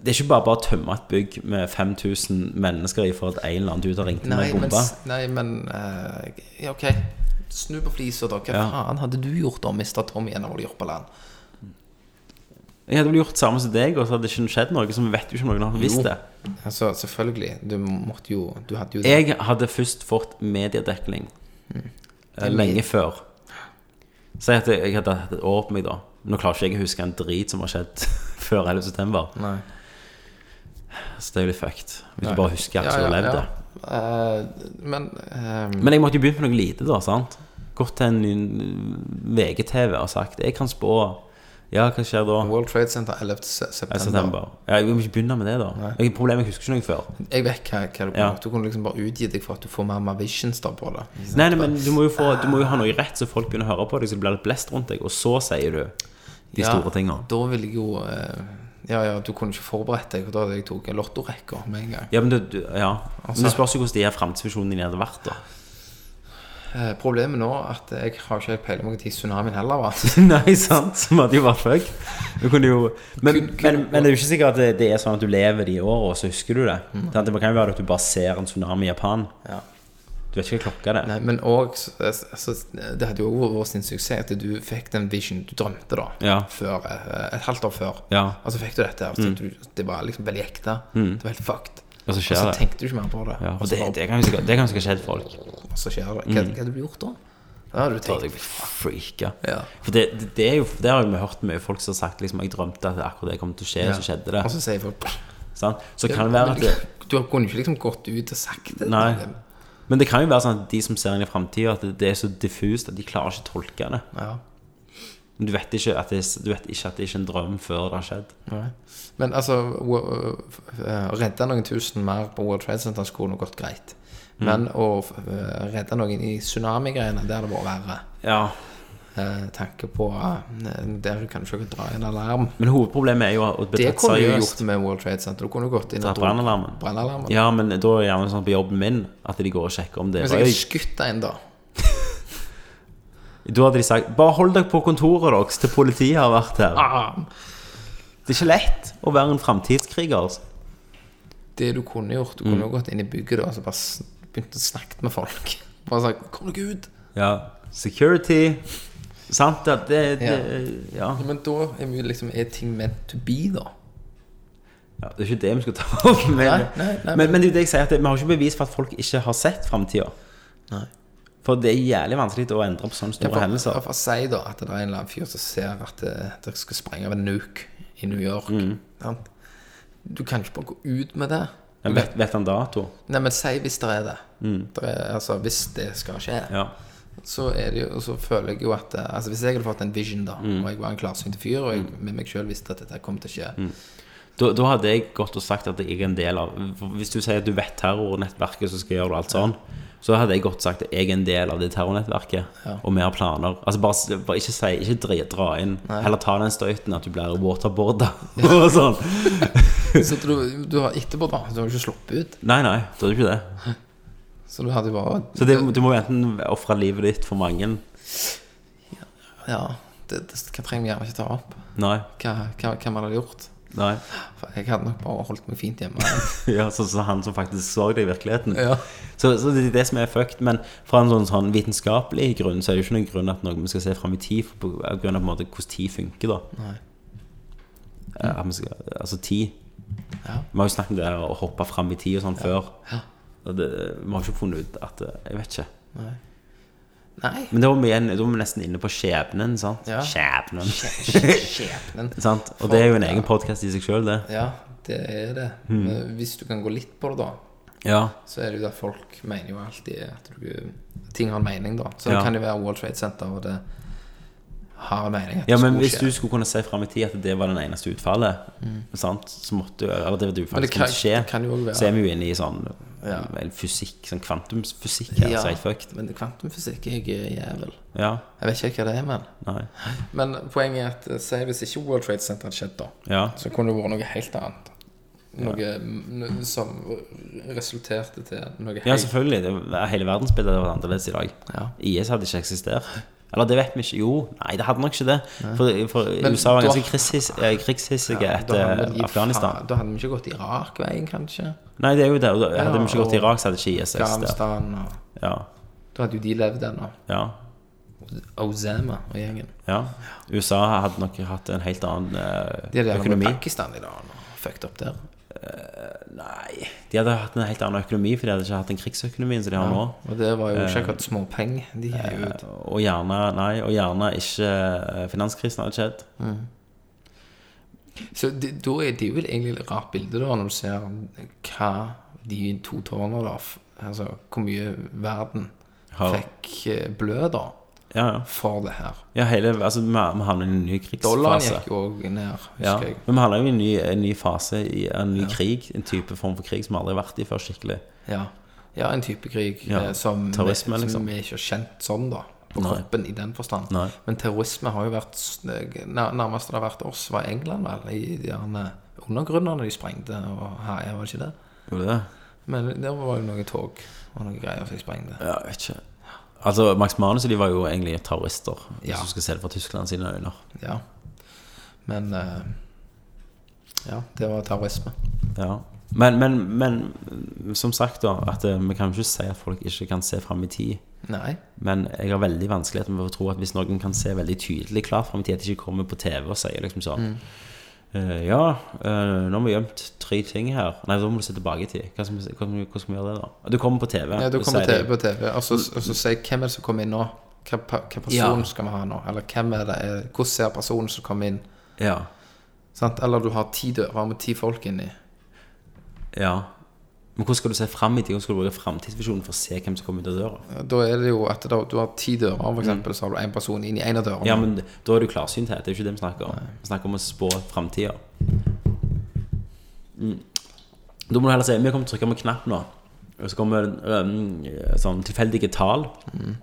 [SPEAKER 1] Det er ikke bare bare å tømme et bygg med 5000 mennesker i for at en eller annen dude har ringt med
[SPEAKER 5] Nei,
[SPEAKER 1] en
[SPEAKER 5] men,
[SPEAKER 1] bombe.
[SPEAKER 5] s- nei, men eh, Ja, OK. Snu på flisa, da. Hva
[SPEAKER 1] Ja.
[SPEAKER 5] faen hadde du gjort da, mister Tommy, når du gjorde på land?
[SPEAKER 1] Jeg hadde vel gjort samme som deg, og så hadde det ikke skjedd noe. Så vi vet jo ikke om noen har visst det.
[SPEAKER 5] Altså, selvfølgelig. Du måtte jo Du hadde jo
[SPEAKER 1] Jeg hadde først fått mediedekning
[SPEAKER 5] Hmm.
[SPEAKER 1] eh, lenge før. Si at jeg hadde hatt et år på meg, da. Nå klarer ikke jeg å huske en drit som har skjedd før 11. september.
[SPEAKER 5] Nei.
[SPEAKER 1] Så det er jo litt fucked. Hvis
[SPEAKER 5] Nei.
[SPEAKER 1] du bare husker at du har levd det.
[SPEAKER 5] Eh, men eh,
[SPEAKER 1] Men jeg måtte jo begynne med noe lite, da. sant? Gått til en ny- VGTV og sagt 'Jeg kan spå'. Ja, hva skjer da?
[SPEAKER 5] World Trade Center 11. se-
[SPEAKER 1] Ja,
[SPEAKER 5] september.
[SPEAKER 1] september. Ja, jeg må ikke begynne med det, da. Jeg, problemet, jeg husker ikke noe før.
[SPEAKER 5] Jeg vet hva, hva du kunne
[SPEAKER 1] Ja.
[SPEAKER 5] gjort. Du kunne liksom bare utgitt deg for at du får mer og mer visions da på det.
[SPEAKER 1] Nei, nei, men du må, jo få, du må jo ha noe rett, så folk begynner å høre på deg, så det blir litt blest rundt deg. Og så sier du de
[SPEAKER 5] Ja,
[SPEAKER 1] store tinga.
[SPEAKER 5] Da ville jeg jo eh, Ja, ja, du kunne ikke forberedt deg, og da hadde jeg tatt lottorekka med en gang.
[SPEAKER 1] Altså- Ja, men, du, du, ja. men det spørs jo hvordan de her framtidsvisjonene dine hadde vært, da.
[SPEAKER 5] Eh, Problemet nå er at jeg har ikke helt peiling på når tsunamien heller var.
[SPEAKER 1] Nei, sant? Som hadde jo vært fuck. Du kunne jo men, men, men det er jo ikke sikkert at det, det er sånn at du lever de åra, og så husker du det. Sant? Det kan jo være at du bare ser en tsunami i Japan.
[SPEAKER 5] Ja.
[SPEAKER 1] Du vet ikke hva klokka det er.
[SPEAKER 5] Nei, men òg altså, Det hadde jo også vært sin suksess at du fikk den vision du drømte, da.
[SPEAKER 1] Ja.
[SPEAKER 5] Før, eh, et halvt år før.
[SPEAKER 1] Ja. Mm.
[SPEAKER 5] Og så fikk du dette. her, så du, det var liksom veldig ekte. Det var helt fucked.
[SPEAKER 1] Og så skjer
[SPEAKER 5] og så
[SPEAKER 1] Mm. det.
[SPEAKER 5] tenkte du ikke mer på det.
[SPEAKER 1] Ja, og
[SPEAKER 5] og,
[SPEAKER 1] det,
[SPEAKER 5] så bare,
[SPEAKER 1] det kan jo sikkert det kan jo sikkert skjedd folk.
[SPEAKER 5] og så skjer det. Hva, hva hadde du gjort da? Da hadde du
[SPEAKER 1] Da Mm. hadde jeg
[SPEAKER 5] tenkt
[SPEAKER 1] blitt freaka.
[SPEAKER 5] Ja.
[SPEAKER 1] For det, det, det, er jo, det har jeg hørt mye folk som har sagt liksom, Jeg drømte at akkurat det kom til å skje,
[SPEAKER 5] ja. Altså,
[SPEAKER 1] så skjedde det.
[SPEAKER 5] Og så sier folk
[SPEAKER 1] sant? Så kan det være at det,
[SPEAKER 5] Du har- kunne ikke liksom gått ut og sagt det.
[SPEAKER 1] Nei. Men det kan jo være sånn at de som ser inn i framtida, at det er så diffust at de klarer ikke å tolke det.
[SPEAKER 5] Ja.
[SPEAKER 1] Men Du vet ikke at det, du vet ikke at det ikke er en drøm før det har skjedd.
[SPEAKER 5] Nei. Men altså, wo- eh, å redde noen tusen mer på World Trade Center skulle nok gått greit.
[SPEAKER 1] Mm.
[SPEAKER 5] Men å eh, redde noen i tsunamigreiene, det hadde vært verre.
[SPEAKER 1] Ja,
[SPEAKER 5] Eh, tanke på eh, Der kan du ikke dra en alarm.
[SPEAKER 1] Men hovedproblemet er jo å bli
[SPEAKER 5] Det
[SPEAKER 1] tatt
[SPEAKER 5] kunne du jo
[SPEAKER 1] seriøst.
[SPEAKER 5] gjort med World Trade Center. Du kunne jo gått inn
[SPEAKER 1] Ta
[SPEAKER 5] og dro-
[SPEAKER 1] brannalarmen.
[SPEAKER 5] brannalarmen.
[SPEAKER 1] Ja, men da er det gjerne sånn på jobben min at de går og sjekker om det
[SPEAKER 5] Men
[SPEAKER 1] er
[SPEAKER 5] så jeg
[SPEAKER 1] røyk.
[SPEAKER 5] skutt en, da.
[SPEAKER 1] Da hadde de sagt bare hold dere på kontoret deres til politiet har vært her.
[SPEAKER 5] Ah,
[SPEAKER 1] Det er ikke lett å være en framtidskriger. Altså.
[SPEAKER 5] det du kunne gjort, du
[SPEAKER 1] Mm.
[SPEAKER 5] kunne jo gått inn i bygget da og så bare s- begynt å snakke med folk. Bare sagt 'Kom dere ut!'
[SPEAKER 1] Ja. Security Sant? Det, det, det, ja.
[SPEAKER 5] Ja, Men da er, vi liksom, er ting meant to be, da.
[SPEAKER 1] ja. Det er ikke det vi skal ta opp. Men,
[SPEAKER 5] Nei, nei, nei,
[SPEAKER 1] men, men det er jo det jeg sier, at vi har ikke bevis for at folk ikke har sett framtida.
[SPEAKER 5] Nei.
[SPEAKER 1] For det er jævlig vanskelig å endre på sånne store
[SPEAKER 5] for,
[SPEAKER 1] hendelser.
[SPEAKER 5] for å si da at det er en eller annen fyr som ser at det, det skal sprenge av en nuke i New York.
[SPEAKER 1] Mm.
[SPEAKER 5] sant? Du kan ikke bare gå ut med det.
[SPEAKER 1] Men vet, vet han dato?
[SPEAKER 5] Nei, men si hvis det er det. Det er, altså, hvis det skal skje,
[SPEAKER 1] Ja.
[SPEAKER 5] så er det jo Så føler jeg jo at eh, Altså, hvis jeg hadde fått en vision, da,
[SPEAKER 1] Mm.
[SPEAKER 5] og jeg var en klarsynt fyr, og jeg med meg sjøl visste at dette kom til å skje
[SPEAKER 1] Mm. Da, da hadde jeg gått og sagt at jeg er en del av for Hvis du sier at du vet terrornettverket som skal gjøre det, alt sånn, så hadde jeg godt sagt at jeg er en del av det terrornettverket,
[SPEAKER 5] Ja.
[SPEAKER 1] og vi har planer. Altså bare, s- bare ikke si Ikke dra, dra inn. Heller ta den støyten at du blir waterboarda og sånn.
[SPEAKER 5] Så du, du har etterpå, da Du har jo ikke sluppet ut.
[SPEAKER 1] Nei, nei, det er jo ikke det.
[SPEAKER 5] Så du hadde jo bare
[SPEAKER 1] Så det, du må jo enten ofre livet ditt for mange
[SPEAKER 5] Ja. Det, det, hva trenger vi gjerne ikke ta opp?
[SPEAKER 1] Nei.
[SPEAKER 5] Hva, hva, hva man hadde gjort?
[SPEAKER 1] nei
[SPEAKER 5] For jeg hadde nok bare holdt meg fint hjemme.
[SPEAKER 1] Ja, Sånn som han som faktisk så det i virkeligheten.
[SPEAKER 5] Ja.
[SPEAKER 1] Så, så det er det som er fucked. Men fra en sånn, sånn vitenskapelig grunn så er det jo ikke noen grunn at noe vi skal se fram i tid, for på av grunn av på en måte hvordan tid funker, da.
[SPEAKER 5] Nei.
[SPEAKER 1] Eh, at vi skal, altså tid.
[SPEAKER 5] Ja.
[SPEAKER 1] Vi har jo snakket om det her å hoppe fram i tid og sånn før. Og det, vi har ikke funnet ut at eh, Jeg vet ikke.
[SPEAKER 5] Nei. Nei.
[SPEAKER 1] Men da var vi, igjen, da var vi nesten inne på skjebnen, sant?
[SPEAKER 5] Ja.
[SPEAKER 1] Skjebnen.
[SPEAKER 5] Skjebnen.
[SPEAKER 1] sant? Og det er jo en
[SPEAKER 5] Ja.
[SPEAKER 1] egen Hmm. podkast i seg sjøl, det.
[SPEAKER 5] Ja, det er det. Men hvis du kan gå litt på det, da,
[SPEAKER 1] Ja.
[SPEAKER 5] så er det jo det at folk mener jo alltid at du, ting har en mening, da. Så
[SPEAKER 1] Ja.
[SPEAKER 5] det kan jo være World Trade Center, og det har en mening. At
[SPEAKER 1] ja,
[SPEAKER 5] det
[SPEAKER 1] men
[SPEAKER 5] skulle
[SPEAKER 1] hvis
[SPEAKER 5] skje. Mm.
[SPEAKER 1] du skulle kunne se fram i tid at det var den eneste utfallet, sant? så måtte jo Eller det du
[SPEAKER 5] Men det
[SPEAKER 1] faktisk
[SPEAKER 5] kan,
[SPEAKER 1] måtte skje,
[SPEAKER 5] det kan jo også være
[SPEAKER 1] så er vi jo inne i sånn
[SPEAKER 5] Ja.
[SPEAKER 1] vel, fysikk, sånn kvantumsfysikk her,
[SPEAKER 5] Ja,
[SPEAKER 1] så er jeg fucked.
[SPEAKER 5] Men kvantumfysikk er jeg jævel.
[SPEAKER 1] Ja.
[SPEAKER 5] Jeg vet ikke hva det er, men.
[SPEAKER 1] Nei.
[SPEAKER 5] Men poenget er at eh, si hvis ikke World Trade Center hadde skjedd, da,
[SPEAKER 1] Ja.
[SPEAKER 5] så kunne det vært noe helt annet. Noe n- som resulterte til noe
[SPEAKER 1] Ja,
[SPEAKER 5] helt
[SPEAKER 1] selvfølgelig. Det var, hele verdensbildet hadde vært annerledes i dag.
[SPEAKER 5] Ja.
[SPEAKER 1] IS hadde ikke eksistert. Eller det vet vi ikke. Jo, nei, det hadde nok ikke det. For, for
[SPEAKER 5] Men
[SPEAKER 1] USA var
[SPEAKER 5] da-
[SPEAKER 1] ganske krigshis- eh, krigshissige
[SPEAKER 5] Ja, da hadde
[SPEAKER 1] etter
[SPEAKER 5] vi gitt
[SPEAKER 1] Afghanistan.
[SPEAKER 5] faen- Da hadde vi ikke gått Irak-veien, kanskje.
[SPEAKER 1] Nei, det er jo det. og da- Hadde
[SPEAKER 5] Ja,
[SPEAKER 1] vi ikke gått
[SPEAKER 5] og-
[SPEAKER 1] til Irak, så hadde ikke IS eksistert.
[SPEAKER 5] Afghanistan og
[SPEAKER 1] Ja,
[SPEAKER 5] Da hadde jo de levd ennå.
[SPEAKER 1] ja,
[SPEAKER 5] Ozama og gjengen.
[SPEAKER 1] ja. USA hadde nok hatt en helt annen eh,
[SPEAKER 5] De hadde gjerne vært
[SPEAKER 1] økonomi.
[SPEAKER 5] i Pakistan i dag og fucked opp der.
[SPEAKER 1] Nei, de hadde hatt en helt annen økonomi, for de hadde ikke hatt den krigsøkonomien som de har nå. Eh.
[SPEAKER 5] Og det var jo ikke akkurat småpenger de heiv ut.
[SPEAKER 1] Og gjerne, nei, og gjerne ikke eh, finanskrisen hadde skjedd.
[SPEAKER 5] Så det, da er det jo egentlig et rart bilde, da, når du ser hva de to tårnene da f- Altså hvor mye verden
[SPEAKER 1] Har-
[SPEAKER 5] fikk eh, blø, da,
[SPEAKER 1] Ja, ja.
[SPEAKER 5] for det her.
[SPEAKER 1] ja hele, altså, vi vi havner i en ny krigsfase.
[SPEAKER 5] Dollaren gikk jo også ned, husker
[SPEAKER 1] Ja,
[SPEAKER 5] jeg.
[SPEAKER 1] men vi handler jo i en ny, en ny fase, i en ny krig. En type form for krig som vi aldri har vært i før skikkelig.
[SPEAKER 5] Ja. ja, en type krig
[SPEAKER 1] Ja,
[SPEAKER 5] eh, som,
[SPEAKER 1] terrorisme,
[SPEAKER 5] vi,
[SPEAKER 1] liksom.
[SPEAKER 5] som vi ikke har kjent sånn, da. På
[SPEAKER 1] Nei.
[SPEAKER 5] kroppen i den forstand.
[SPEAKER 1] Nei.
[SPEAKER 5] Men terrorisme har jo vært s- eh, nær- Nærmest det har vært oss, var England, vel? I de herne undergrunnene de sprengte og herja, var det ikke det?
[SPEAKER 1] Gjorde det?
[SPEAKER 5] Men der var jo noen tog og noen greier som de sprengte.
[SPEAKER 1] Ja, jeg vet ikke. Altså, Max Manus og de var jo egentlig terrorister,
[SPEAKER 5] Ja.
[SPEAKER 1] hvis du skal se det fra Tyskland sine øyne.
[SPEAKER 5] Ja. Men eh, Ja, det var terrorisme.
[SPEAKER 1] Ja. Men, men, men som sagt, da, at eh, vi kan jo ikke si at folk ikke kan se fram i tid.
[SPEAKER 5] Nei.
[SPEAKER 1] Men jeg har veldig vanskeligheter med å tro at hvis noen kan se veldig tydelig klart fram i tid, at de ikke kommer på TV og sier liksom
[SPEAKER 5] Mm.
[SPEAKER 1] sånn eh, Ja, eh, nå har vi gjemt tre ting her. Nei, da må du se tilbake i tid. Hva skal vi- Hvordan hvordan skal vi gjøre det, da? Du kommer på TV.
[SPEAKER 5] Ja, du
[SPEAKER 1] og
[SPEAKER 5] kommer
[SPEAKER 1] sier
[SPEAKER 5] TV
[SPEAKER 1] det.
[SPEAKER 5] på TV, og så, og så sier jeg, hvem er det som kommer inn nå? Hva, pa- hva person
[SPEAKER 1] Ja.
[SPEAKER 5] skal vi ha nå? Eller hvem er det? er- Hvordan ser personen som kommer inn?
[SPEAKER 1] Ja.
[SPEAKER 5] Sant? Eller du har ti dører med ti folk inni.
[SPEAKER 1] ja. Men hvordan skal du se fram i tid? Hvordan skal du bruke framtidsvisjonen for å se hvem som kommer ut av døra?
[SPEAKER 5] Da er det jo at da, du har ti dører, for eksempel, så har du én person inn i en av dørene.
[SPEAKER 1] Mm. Ja, men da er du klarsynthet. Det er jo ikke det vi snakker om. Vi snakker om å spå framtida. Mm. Da må du heller si vi kommer til å trykke på en knapp nå. Og så kommer um, sånn tilfeldige tall
[SPEAKER 5] Mm.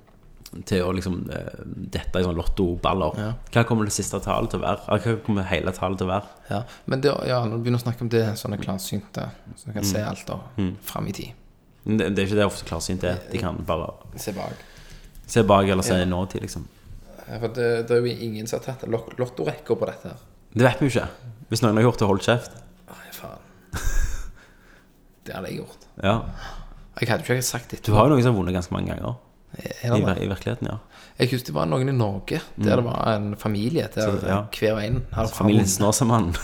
[SPEAKER 1] til å liksom eh, dette i sånn lottoballer.
[SPEAKER 5] Ja.
[SPEAKER 1] Hva kommer det siste tallet til å være? Eller hva kommer hele tallet til å være?
[SPEAKER 5] Ja. Men det, ja, når du begynner å snakke om det,
[SPEAKER 1] Mm.
[SPEAKER 5] sånne klarsynte som kan se alt da, fram i tid.
[SPEAKER 1] Men Det, det er ikke det ofte klarsynt er. De kan bare
[SPEAKER 5] Se bak.
[SPEAKER 1] se bak eller se nåtid, liksom.
[SPEAKER 5] Ja, For det, det er jo ingen som har tatt lok- lottorekka på dette her.
[SPEAKER 1] Det vet vi jo ikke. Hvis noen har gjort det, hold kjeft.
[SPEAKER 5] Nei, faen. Det hadde jeg gjort.
[SPEAKER 1] Ja.
[SPEAKER 5] Jeg hadde jo ikke sagt det.
[SPEAKER 1] Du har jo noen som har vunnet ganske mange ganger. I,
[SPEAKER 5] Er det det?
[SPEAKER 1] ver- I virkeligheten, ja.
[SPEAKER 5] Jeg husker det var noen i Norge der det var en familie der
[SPEAKER 1] Mm. Så, ja.
[SPEAKER 5] hver og en hadde
[SPEAKER 1] Familien Snåsamann.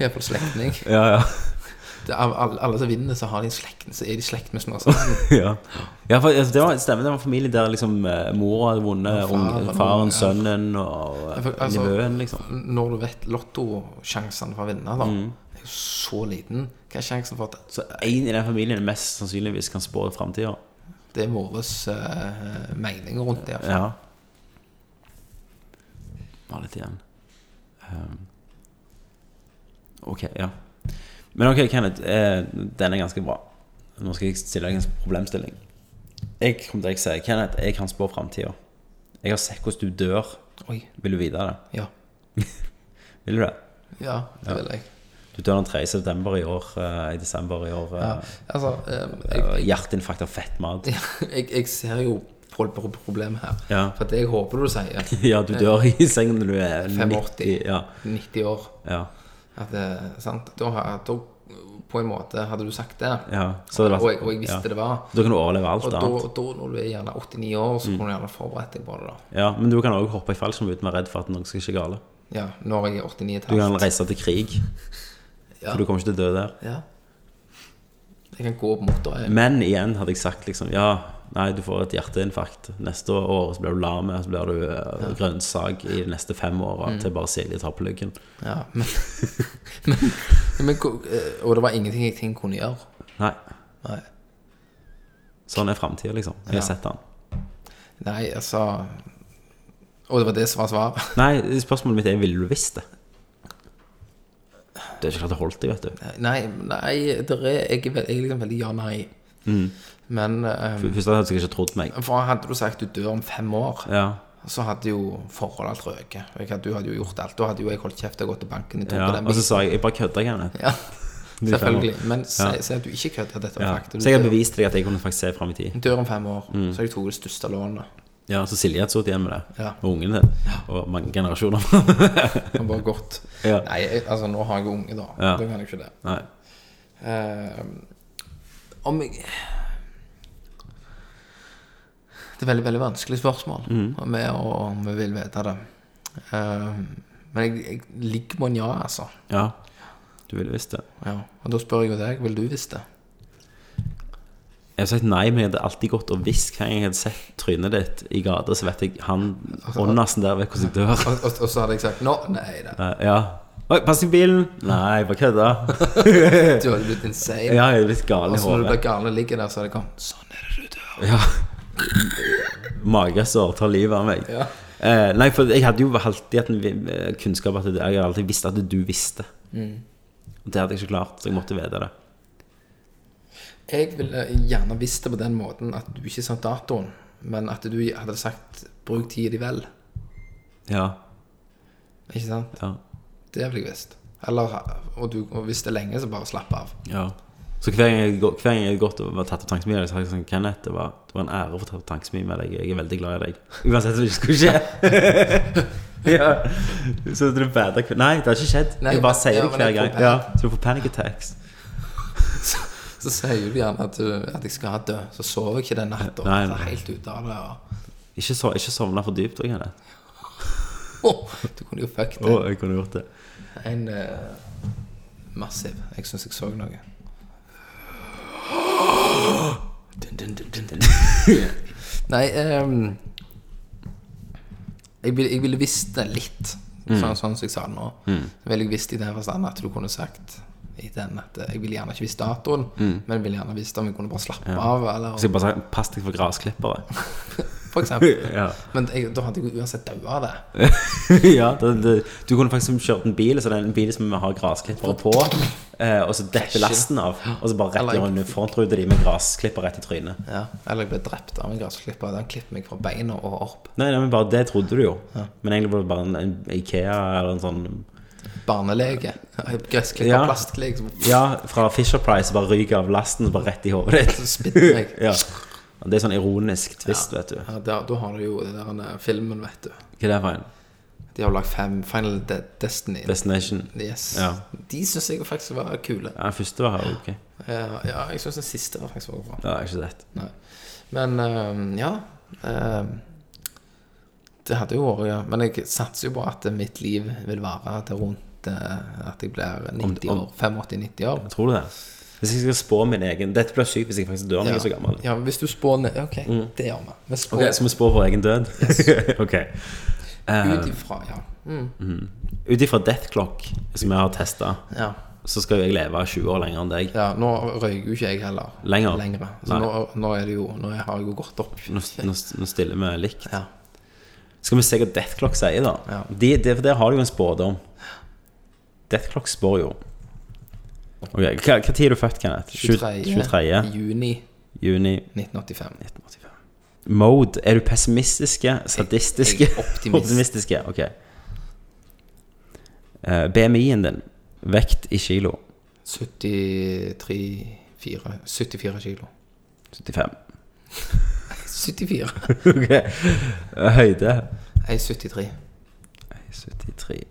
[SPEAKER 5] Iallfall slektning.
[SPEAKER 1] ja, ja.
[SPEAKER 5] Det er Alle, alle som vinner, så har de en slekt, så er de i slekt med Snåsamannen.
[SPEAKER 1] Ja, ja for altså, det var, stemmer, det var en familie der liksom eh, mora hadde vunnet,
[SPEAKER 5] far
[SPEAKER 1] faren,
[SPEAKER 5] hadde
[SPEAKER 1] faren
[SPEAKER 5] vunnet, ja.
[SPEAKER 1] sønnen og eh,
[SPEAKER 5] Ja, for, altså,
[SPEAKER 1] nevøen, liksom.
[SPEAKER 5] Når du vet lottosjansene for å vinne, da,
[SPEAKER 1] Mm.
[SPEAKER 5] er jo så liten. Hva er sjansen for at
[SPEAKER 1] Så én i den familien mest sannsynligvis kan spå framtida.
[SPEAKER 5] det er våres eh, meninger rundt det?
[SPEAKER 1] Ja. Bare litt igjen. Um, ok, ja. Men ok, Kenneth, eh, den er ganske bra. Nå skal jeg stille deg en problemstilling. Jeg kommer til å si Kenneth, jeg kan spå framtida. Jeg har sett hvordan du dør.
[SPEAKER 5] Oi.
[SPEAKER 1] Vil du vite det?
[SPEAKER 5] Ja.
[SPEAKER 1] Vil du det?
[SPEAKER 5] Ja, det vil jeg.
[SPEAKER 1] Du dør den 3. september i år, eh, i desember i år.
[SPEAKER 5] Ja.
[SPEAKER 1] eh,
[SPEAKER 5] Altså, eh, jeg,
[SPEAKER 1] eh, Hjerteinfarkt av fettmat.
[SPEAKER 5] jeg, jeg ser jo pro- pro- problemet her.
[SPEAKER 1] Ja.
[SPEAKER 5] For at jeg håper du sier
[SPEAKER 1] Ja, du dør i sengen når du er
[SPEAKER 5] 85.
[SPEAKER 1] 90. Ja,
[SPEAKER 5] 90 år.
[SPEAKER 1] ja,
[SPEAKER 5] At det, sant? Da, har- da på en måte hadde du sagt det,
[SPEAKER 1] ja. Så hadde det vært-
[SPEAKER 5] og, jeg, og jeg visste
[SPEAKER 1] ja.
[SPEAKER 5] det var.
[SPEAKER 1] Da kan du overleve alt
[SPEAKER 5] Og da,
[SPEAKER 1] annet. Mm.
[SPEAKER 5] da når du er gjerne 89 år, så kunne du gjerne forberedt deg på det. da
[SPEAKER 1] Ja, men du kan òg hoppe i fallskjerm uten å være redd for at noe skal skje gale.
[SPEAKER 5] Ja, når jeg er 89 et
[SPEAKER 1] Du
[SPEAKER 5] halvt.
[SPEAKER 1] kan reise til krig,
[SPEAKER 5] Ja.
[SPEAKER 1] for du kommer ikke til å dø der.
[SPEAKER 5] Ja. Jeg kan gå opp mot det.
[SPEAKER 1] Men igjen hadde jeg sagt liksom Ja, nei, du får et hjerteinfarkt neste år, så blir du lam, så blir du eh, grønnsak i de neste fem åra
[SPEAKER 5] Mm.
[SPEAKER 1] til bare Silje tar på lyggen.
[SPEAKER 5] Ja, men, men, men ko- eh, Og det var ingenting jeg ting kunne gjøre.
[SPEAKER 1] Nei.
[SPEAKER 5] Nei,
[SPEAKER 1] Sånn er framtida, liksom. Jeg har sett den.
[SPEAKER 5] Nei altså Og det var det som var svaret.
[SPEAKER 1] Nei, spørsmålet mitt er Ville du visst det? Det er ikke klart det holdt deg, vet du
[SPEAKER 5] Nei, nei det er, jeg, er veld- jeg er liksom veldig ja-nei.
[SPEAKER 1] Mm.
[SPEAKER 5] Men eh,
[SPEAKER 1] Først hadde jeg ikke trodd meg
[SPEAKER 5] for hadde du sagt du dør om fem år
[SPEAKER 1] Ja,
[SPEAKER 5] Så hadde jo forholdet alt røket. Og jeg hadde- Du hadde jo gjort alt. Da hadde jo jeg holdt kjeft og gått til banken. Jeg tok
[SPEAKER 1] ja.
[SPEAKER 5] på den
[SPEAKER 1] og så
[SPEAKER 5] bilen.
[SPEAKER 1] sa jeg Jeg bare kødda, Kenneth
[SPEAKER 5] ja,
[SPEAKER 1] er fem
[SPEAKER 5] selvfølgelig. Men si
[SPEAKER 1] Ja.
[SPEAKER 5] si at du ikke kødder. Dette var
[SPEAKER 1] ja.
[SPEAKER 5] fakta. Du
[SPEAKER 1] Så jeg Mm. har
[SPEAKER 5] dør-
[SPEAKER 1] bevist til deg at jeg kunne faktisk se frem i tid
[SPEAKER 5] dør om fem år, så har jeg tatt det største lånet.
[SPEAKER 1] Ja, så Silje hadde sittet igjen med det
[SPEAKER 5] Ja.
[SPEAKER 1] Og ungen din Og mange generasjoner
[SPEAKER 5] Og bare gått.
[SPEAKER 1] Ja.
[SPEAKER 5] Nei, jeg, altså, nå har jeg jo unge, da.
[SPEAKER 1] Ja.
[SPEAKER 5] Da kan jeg ikke det.
[SPEAKER 1] Nei
[SPEAKER 5] Eh, om jeg Det er veldig, veldig vanskelig spørsmål
[SPEAKER 1] Mm.
[SPEAKER 5] med å, om vi vil vite det. Eh, men jeg, jeg ligger på en ja, altså.
[SPEAKER 1] Ja Du ville visst det
[SPEAKER 5] Ja, og da spør jeg jo deg, vil du visst det?
[SPEAKER 1] Jeg har sagt nei, men jeg hadde alltid gått og visst Hver gang jeg hadde sett trynet ditt i gata Så vet jeg Han
[SPEAKER 5] Altså,
[SPEAKER 1] åndasen der vet hvordan jeg dør
[SPEAKER 5] Og, og, og så hadde jeg sagt nå, nei da,
[SPEAKER 1] Nei, Ja Oi, pass i bilen Nei, bare kødda
[SPEAKER 5] du hadde blitt insane.
[SPEAKER 1] Ja, jeg er litt gal
[SPEAKER 5] Og
[SPEAKER 1] i
[SPEAKER 5] så når du
[SPEAKER 1] håret
[SPEAKER 5] blir gale ligger der, så hadde det kommet sånn er det du dør.
[SPEAKER 1] Ja. Magesår tar livet av meg.
[SPEAKER 5] Ja.
[SPEAKER 1] Eh, nei, for jeg hadde jo alltid hatt en vi- eh, kunnskap at det- jeg hadde alltid visst at du visste.
[SPEAKER 5] Mm.
[SPEAKER 1] Og det hadde jeg ikke klart, så jeg måtte vite det.
[SPEAKER 5] Jeg ville gjerne visst det på den måten at du ikke sa datoen, men at du hadde sagt bruk tid i vel.
[SPEAKER 1] Ja,
[SPEAKER 5] Ikke sant?
[SPEAKER 1] ja,
[SPEAKER 5] Det ville jeg visst. Eller, og, du, og hvis det er lenge, så bare slapp av.
[SPEAKER 1] ja. Så hver gang jeg, går- hver gang jeg har gått og vært tatt opp tankesmien med deg, så har jeg sagt sånn Kenneth, det var, det var en ære å få tatt opp tankesmien med deg. Jeg er veldig glad i deg. Uansett hva som skulle skje. ja. Så du bader hver Nei, det har ikke skjedd.
[SPEAKER 5] Nei,
[SPEAKER 1] jeg bare
[SPEAKER 5] men-
[SPEAKER 1] sier
[SPEAKER 5] ja,
[SPEAKER 1] det
[SPEAKER 5] men
[SPEAKER 1] hver
[SPEAKER 5] jeg får
[SPEAKER 1] gang.
[SPEAKER 5] panic.
[SPEAKER 1] Ja, så du får panic attacks.
[SPEAKER 5] Så sier du gjerne at, du, at jeg skal dø, så sover jeg ikke den natta.
[SPEAKER 1] Nei,
[SPEAKER 5] Så er
[SPEAKER 1] nei.
[SPEAKER 5] jeg Helt ute av det. Og,
[SPEAKER 1] Ikke, so ikke sovne for dypt òg, Kenneth.
[SPEAKER 5] Åh, du kunne jo fucket
[SPEAKER 1] Å,
[SPEAKER 5] det.
[SPEAKER 1] jeg kunne gjort det.
[SPEAKER 5] En eh, massiv. Jeg syns jeg så noe. Dun, dun, dun, dun, dun. Nei ehm, jeg, ville, jeg ville visst det litt, sånn, sånn som jeg sa det nå. Så ville jeg visst i den forstand at du kunne sagt i den at eh, jeg ville gjerne ikke visst datoen, men jeg ville gjerne visst om jeg kunne bare slappe av,
[SPEAKER 1] Så
[SPEAKER 5] eller
[SPEAKER 1] jeg bare sa pass deg for grasklippere.
[SPEAKER 5] for eksempel.
[SPEAKER 1] ja.
[SPEAKER 5] Men jeg, da hadde jeg jo uansett daua av det.
[SPEAKER 1] ja, det, det, du kunne faktisk kjørt en bil Så det er en bil som har grasklippere på eh, Og så detter lasten av Og så bare rett
[SPEAKER 5] Eller-
[SPEAKER 1] gjennom en frontrude de med grasklipper rett i trynet
[SPEAKER 5] Ja. Eller jeg ble drept av en gressklipper. Den klipper meg fra beina og opp.
[SPEAKER 1] Nei, nei, men bare det trodde du jo Men egentlig var det bare en, en Ikea eller en sånn
[SPEAKER 5] barnelege. Gressklipper,
[SPEAKER 1] Ja.
[SPEAKER 5] plastlege som
[SPEAKER 1] Ja, fra Fisher Price bare ryker av lasten Bare rett i hodet ditt
[SPEAKER 5] spytter meg.
[SPEAKER 1] ja. Det er sånn ironisk twist, vet du
[SPEAKER 5] Ja, da, da har du jo den der eh, filmen, vet du.
[SPEAKER 1] Hva er det for en?
[SPEAKER 5] De har jo lagd fem Final De Destiny.
[SPEAKER 1] Destination
[SPEAKER 5] Yes.
[SPEAKER 1] Ja.
[SPEAKER 5] De syns jeg faktisk var kule.
[SPEAKER 1] Ja, den første var her, ok Ja,
[SPEAKER 5] Ja, ja jeg syns den siste var faktisk var bra.
[SPEAKER 1] det er ikke rett
[SPEAKER 5] Nei. Men eh, ja eh, Det hadde jo vært ja. Men jeg satser jo på at mitt liv vil vare til rundt eh, at jeg blir 90
[SPEAKER 1] om-
[SPEAKER 5] år. 85-90 år.
[SPEAKER 1] Tror du det? Hvis jeg skal spå min egen Dette blir sykt hvis jeg faktisk dør når jeg er så gammel Mm.
[SPEAKER 5] ja, hvis du spår ned Ok, det gjør vi. Vi spår
[SPEAKER 1] Ok, Så vi spår vår egen død? ok. Eh,
[SPEAKER 5] ut ifra Ja. Mm.
[SPEAKER 1] Ut ifra Death Clock, som jeg har testa,
[SPEAKER 5] ja.
[SPEAKER 1] så skal jo jeg leve 20 år lenger enn deg.
[SPEAKER 5] Ja, nå røyker jo ikke jeg heller.
[SPEAKER 1] Lenger?
[SPEAKER 5] Så
[SPEAKER 1] Nei.
[SPEAKER 5] nå, nå er det jo Nå har jeg jo gått opp.
[SPEAKER 1] Nå, nå, nå stiller vi likt.
[SPEAKER 5] Ja.
[SPEAKER 1] Skal vi se hva Death Clock sier, da?
[SPEAKER 5] Ja.
[SPEAKER 1] De, de, for der har du jo en spådom. Death Clock spår jo Ok, Hva, hva tid er du født, Kenneth?
[SPEAKER 5] 23.
[SPEAKER 1] 23.
[SPEAKER 5] juni
[SPEAKER 1] juni
[SPEAKER 5] 1985.
[SPEAKER 1] 1985. Mode. Er du pessimistiske, sadistiske
[SPEAKER 5] Jeg- jeg er optimist.
[SPEAKER 1] Optimistiske, ok. Eh, BMI-en din. Vekt i kilo.
[SPEAKER 5] 73 4, 74 kilo.
[SPEAKER 1] 75.
[SPEAKER 5] 74?
[SPEAKER 1] Ok. Eh, Høyde
[SPEAKER 5] Jeg er 73.
[SPEAKER 1] 73.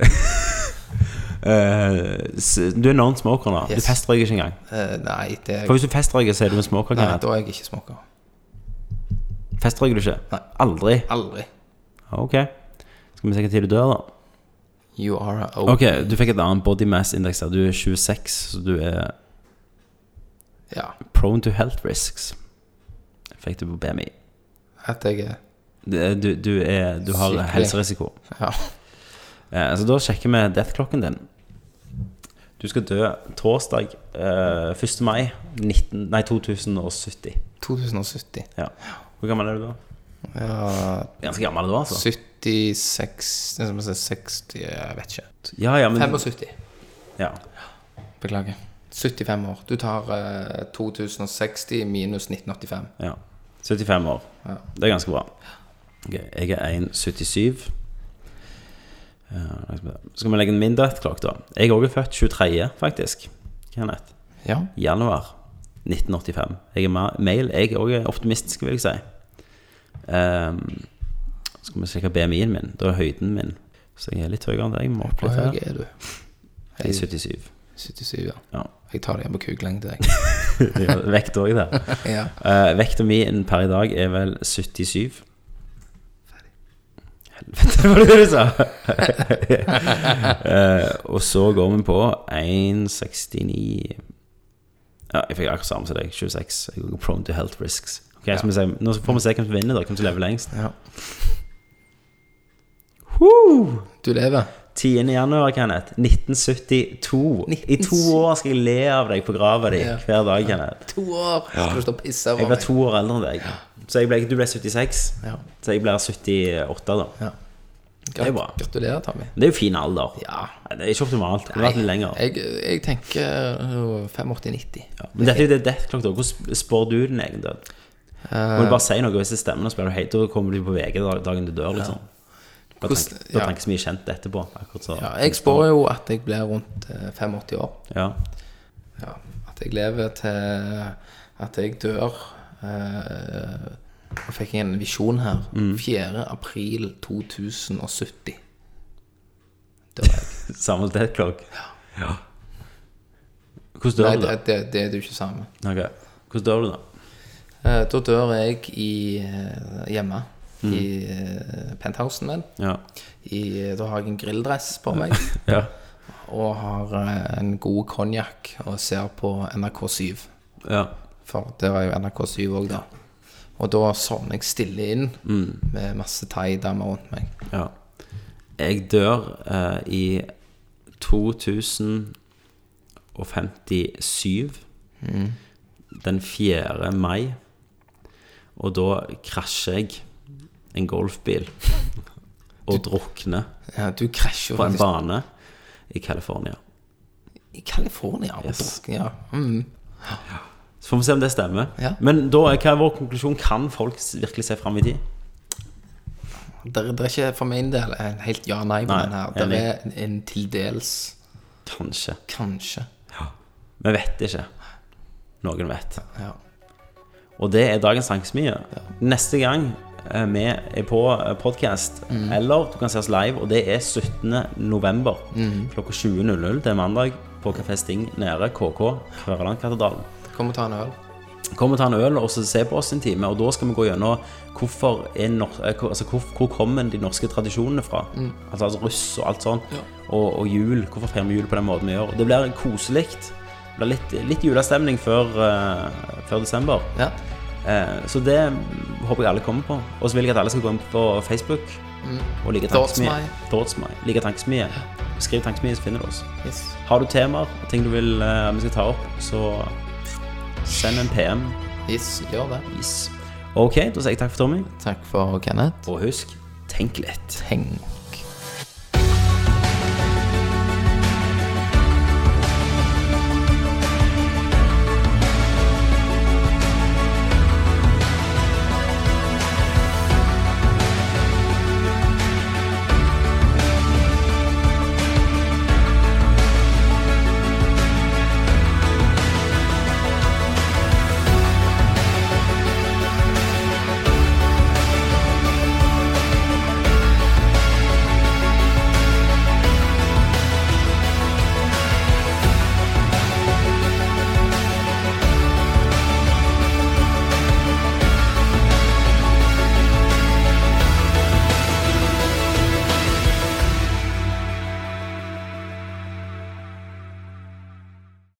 [SPEAKER 1] Eh, s- du er non-smoker nå.
[SPEAKER 5] Yes.
[SPEAKER 1] Du festrøyker ikke engang.
[SPEAKER 5] Eh, nei, det er
[SPEAKER 1] For hvis du festrøyker, så er du en smoker.
[SPEAKER 5] Nei,
[SPEAKER 1] Kenneth.
[SPEAKER 5] da er jeg ikke smoker.
[SPEAKER 1] Festrøyker du ikke?
[SPEAKER 5] Nei.
[SPEAKER 1] Aldri?
[SPEAKER 5] Aldri.
[SPEAKER 1] Ok. Skal vi se hva tid du dør, da.
[SPEAKER 5] You are a
[SPEAKER 1] Ok, Du fikk et annet body mass index der. Du er 26, så du er
[SPEAKER 5] Ja.
[SPEAKER 1] prone to health risks. Fikk du på BMI.
[SPEAKER 5] At jeg er
[SPEAKER 1] Det- Du, du, er, du har
[SPEAKER 5] Sykelig.
[SPEAKER 1] helserisiko.
[SPEAKER 5] Ja.
[SPEAKER 1] Eh, så da sjekker vi death-klokken din. Du skal dø torsdag eh, 1. mai 19, nei, 2070.
[SPEAKER 5] 2070.
[SPEAKER 1] Ja. Hvor gammel er du da?
[SPEAKER 5] Ja,
[SPEAKER 1] Ganske gammel du, altså.
[SPEAKER 5] 76 det er som å si 60 Jeg vet ikke.
[SPEAKER 1] Ja, ja, men,
[SPEAKER 5] 75.
[SPEAKER 1] ja.
[SPEAKER 5] Beklager. 75 år. Du tar eh, 2060 minus 1985.
[SPEAKER 1] ja. 75 år.
[SPEAKER 5] Ja.
[SPEAKER 1] Det er ganske bra. Ok, Jeg er 1,77. Eh, skal vi legge en mindre klokk, da? Jeg er også født 23., faktisk. Kenneth.
[SPEAKER 5] Ja.
[SPEAKER 1] Januar 1985. Jeg er ma- male. Jeg er også optimistisk, vil jeg si. Ehm, skal vi sjekke BMI-en min. Da er høyden min. Så jeg er litt høyere enn deg. Må opp
[SPEAKER 5] Hvor
[SPEAKER 1] litt
[SPEAKER 5] høy
[SPEAKER 1] her.
[SPEAKER 5] er du?
[SPEAKER 1] Jeg er 77.
[SPEAKER 5] 77, ja.
[SPEAKER 1] Ja.
[SPEAKER 5] Jeg tar det igjen på kuglengde, jeg.
[SPEAKER 1] Ja, Vekt òg der.
[SPEAKER 5] ja.
[SPEAKER 1] Uh, vekta mi inn per i dag er vel 77. Helvete, hva var det du sa? Eh, og så går vi på 1,69 Ja, jeg fikk akkurat samme som deg. 26. Jeg går prone to health risks. Ok, så vi ser- Nå får vi se hvem som vinner, da. Hvem som lever lengst.
[SPEAKER 5] ja.
[SPEAKER 1] Woo!
[SPEAKER 5] Du lever.
[SPEAKER 1] 10. januar, Kenneth. 1972. I to år skal jeg le av deg på grava di
[SPEAKER 5] Ja.
[SPEAKER 1] hver dag, Kenneth.
[SPEAKER 5] To år! Skal du stå og pisse
[SPEAKER 1] Jeg
[SPEAKER 5] over
[SPEAKER 1] ble
[SPEAKER 5] meg?
[SPEAKER 1] to år eldre enn deg. Så jeg ble, du ble 76.
[SPEAKER 5] Ja.
[SPEAKER 1] Så jeg ble 78, da.
[SPEAKER 5] Ja.
[SPEAKER 1] Det er bra.
[SPEAKER 5] Gratulerer, Tommy.
[SPEAKER 1] Men Det er jo fin alder.
[SPEAKER 5] Ja.
[SPEAKER 1] Nei, Det er ikke optimalt. Det kunne vært litt lenger.
[SPEAKER 5] Jeg, jeg tenker øh, 85-90.
[SPEAKER 1] Ja. Men dette er jo det death clock, da. Hvordan spår du din egen død? Må du bare si noe hvis det stemmer, og så blir du heit, og kommer du på VG da- dagen du dør, liksom. Da
[SPEAKER 5] Hvordan-
[SPEAKER 1] tenker da
[SPEAKER 5] ja.
[SPEAKER 1] tenker så mye kjent etterpå. Akkurat så.
[SPEAKER 5] Ja, jeg spår jo at jeg blir rundt eh, 85 år.
[SPEAKER 1] Ja.
[SPEAKER 5] ja, at jeg lever til at jeg dør. Eh, Nå fikk jeg en visjon her. 4. april 2070. Dør jeg.
[SPEAKER 1] Samuel Deadclock? Ja. Hvordan dør
[SPEAKER 5] Nei,
[SPEAKER 1] du,
[SPEAKER 5] det,
[SPEAKER 1] da?
[SPEAKER 5] det, det er det jo ikke samme.
[SPEAKER 1] Ok. Hvordan dør du, da?
[SPEAKER 5] Eh, da dør jeg i, eh, hjemme i eh, penthousen min.
[SPEAKER 1] Ja.
[SPEAKER 5] I, da har jeg en grilldress på meg
[SPEAKER 1] ja.
[SPEAKER 5] og har eh, en god konjakk og ser på NRK7.
[SPEAKER 1] ja.
[SPEAKER 5] For der er jo NRK7 òg, da. Og da sovner jeg stille inn
[SPEAKER 1] Mm.
[SPEAKER 5] med masse thaidamer rundt meg.
[SPEAKER 1] ja. Jeg dør eh, i 2057.
[SPEAKER 5] Mm.
[SPEAKER 1] Den 4. mai. Og da krasjer jeg en golfbil og drukner
[SPEAKER 5] Ja, du krasjer
[SPEAKER 1] på en
[SPEAKER 5] faktisk
[SPEAKER 1] bane i California.
[SPEAKER 5] i California. og
[SPEAKER 1] Yes.
[SPEAKER 5] drukner, Ja. Mm.
[SPEAKER 1] Så får vi se om det stemmer.
[SPEAKER 5] Ja.
[SPEAKER 1] Men da, er- hva er vår konklusjon? Kan folk virkelig se fram i tid?
[SPEAKER 5] Det, er- det er ikke for min del en helt ja-nei på
[SPEAKER 1] Nei,
[SPEAKER 5] den her. Det
[SPEAKER 1] enig.
[SPEAKER 5] er en, en til dels
[SPEAKER 1] Kanskje.
[SPEAKER 5] kanskje.
[SPEAKER 1] Vi vet ikke. Noen vet.
[SPEAKER 5] Ja.
[SPEAKER 1] Og det er dagens tankesmie. Neste gang eh, vi er på podkast, eller du kan se oss live, og det er 17. november klokka 20.00. Det er mandag på Kafé Sting nede, KK, Kverlandkatedralen.
[SPEAKER 5] Kom og ta en øl.
[SPEAKER 1] Kom og ta en øl og så se på oss en time, og da skal vi gå gjennom hvorfor er nor- eh, hvor- altså hvor, hvor kommer de norske tradisjonene fra. Altså, altså russ og alt sånt. Og, og jul. Hvorfor feirer vi jul på den måten vi gjør? Det blir koselig. Det blir litt, litt julestemning før, eh, før desember.
[SPEAKER 5] Ja.
[SPEAKER 1] Eh, så det håper jeg alle kommer på. Og så vil jeg at alle skal gå inn på Facebook og like
[SPEAKER 5] Thoughts
[SPEAKER 1] tankesmie.
[SPEAKER 5] my.
[SPEAKER 1] Thoughts my. Like tankesmie. Skriv tankesmie, så finner du oss.
[SPEAKER 5] Yes.
[SPEAKER 1] Har du temaer og ting du vil eh, vi skal ta opp, så send en PM.
[SPEAKER 5] yes. Gjør det.
[SPEAKER 1] Yes. Ok, da sier jeg takk for Tommy.
[SPEAKER 5] Takk for Kenneth.
[SPEAKER 1] Og husk, tenk litt.
[SPEAKER 5] Tenk.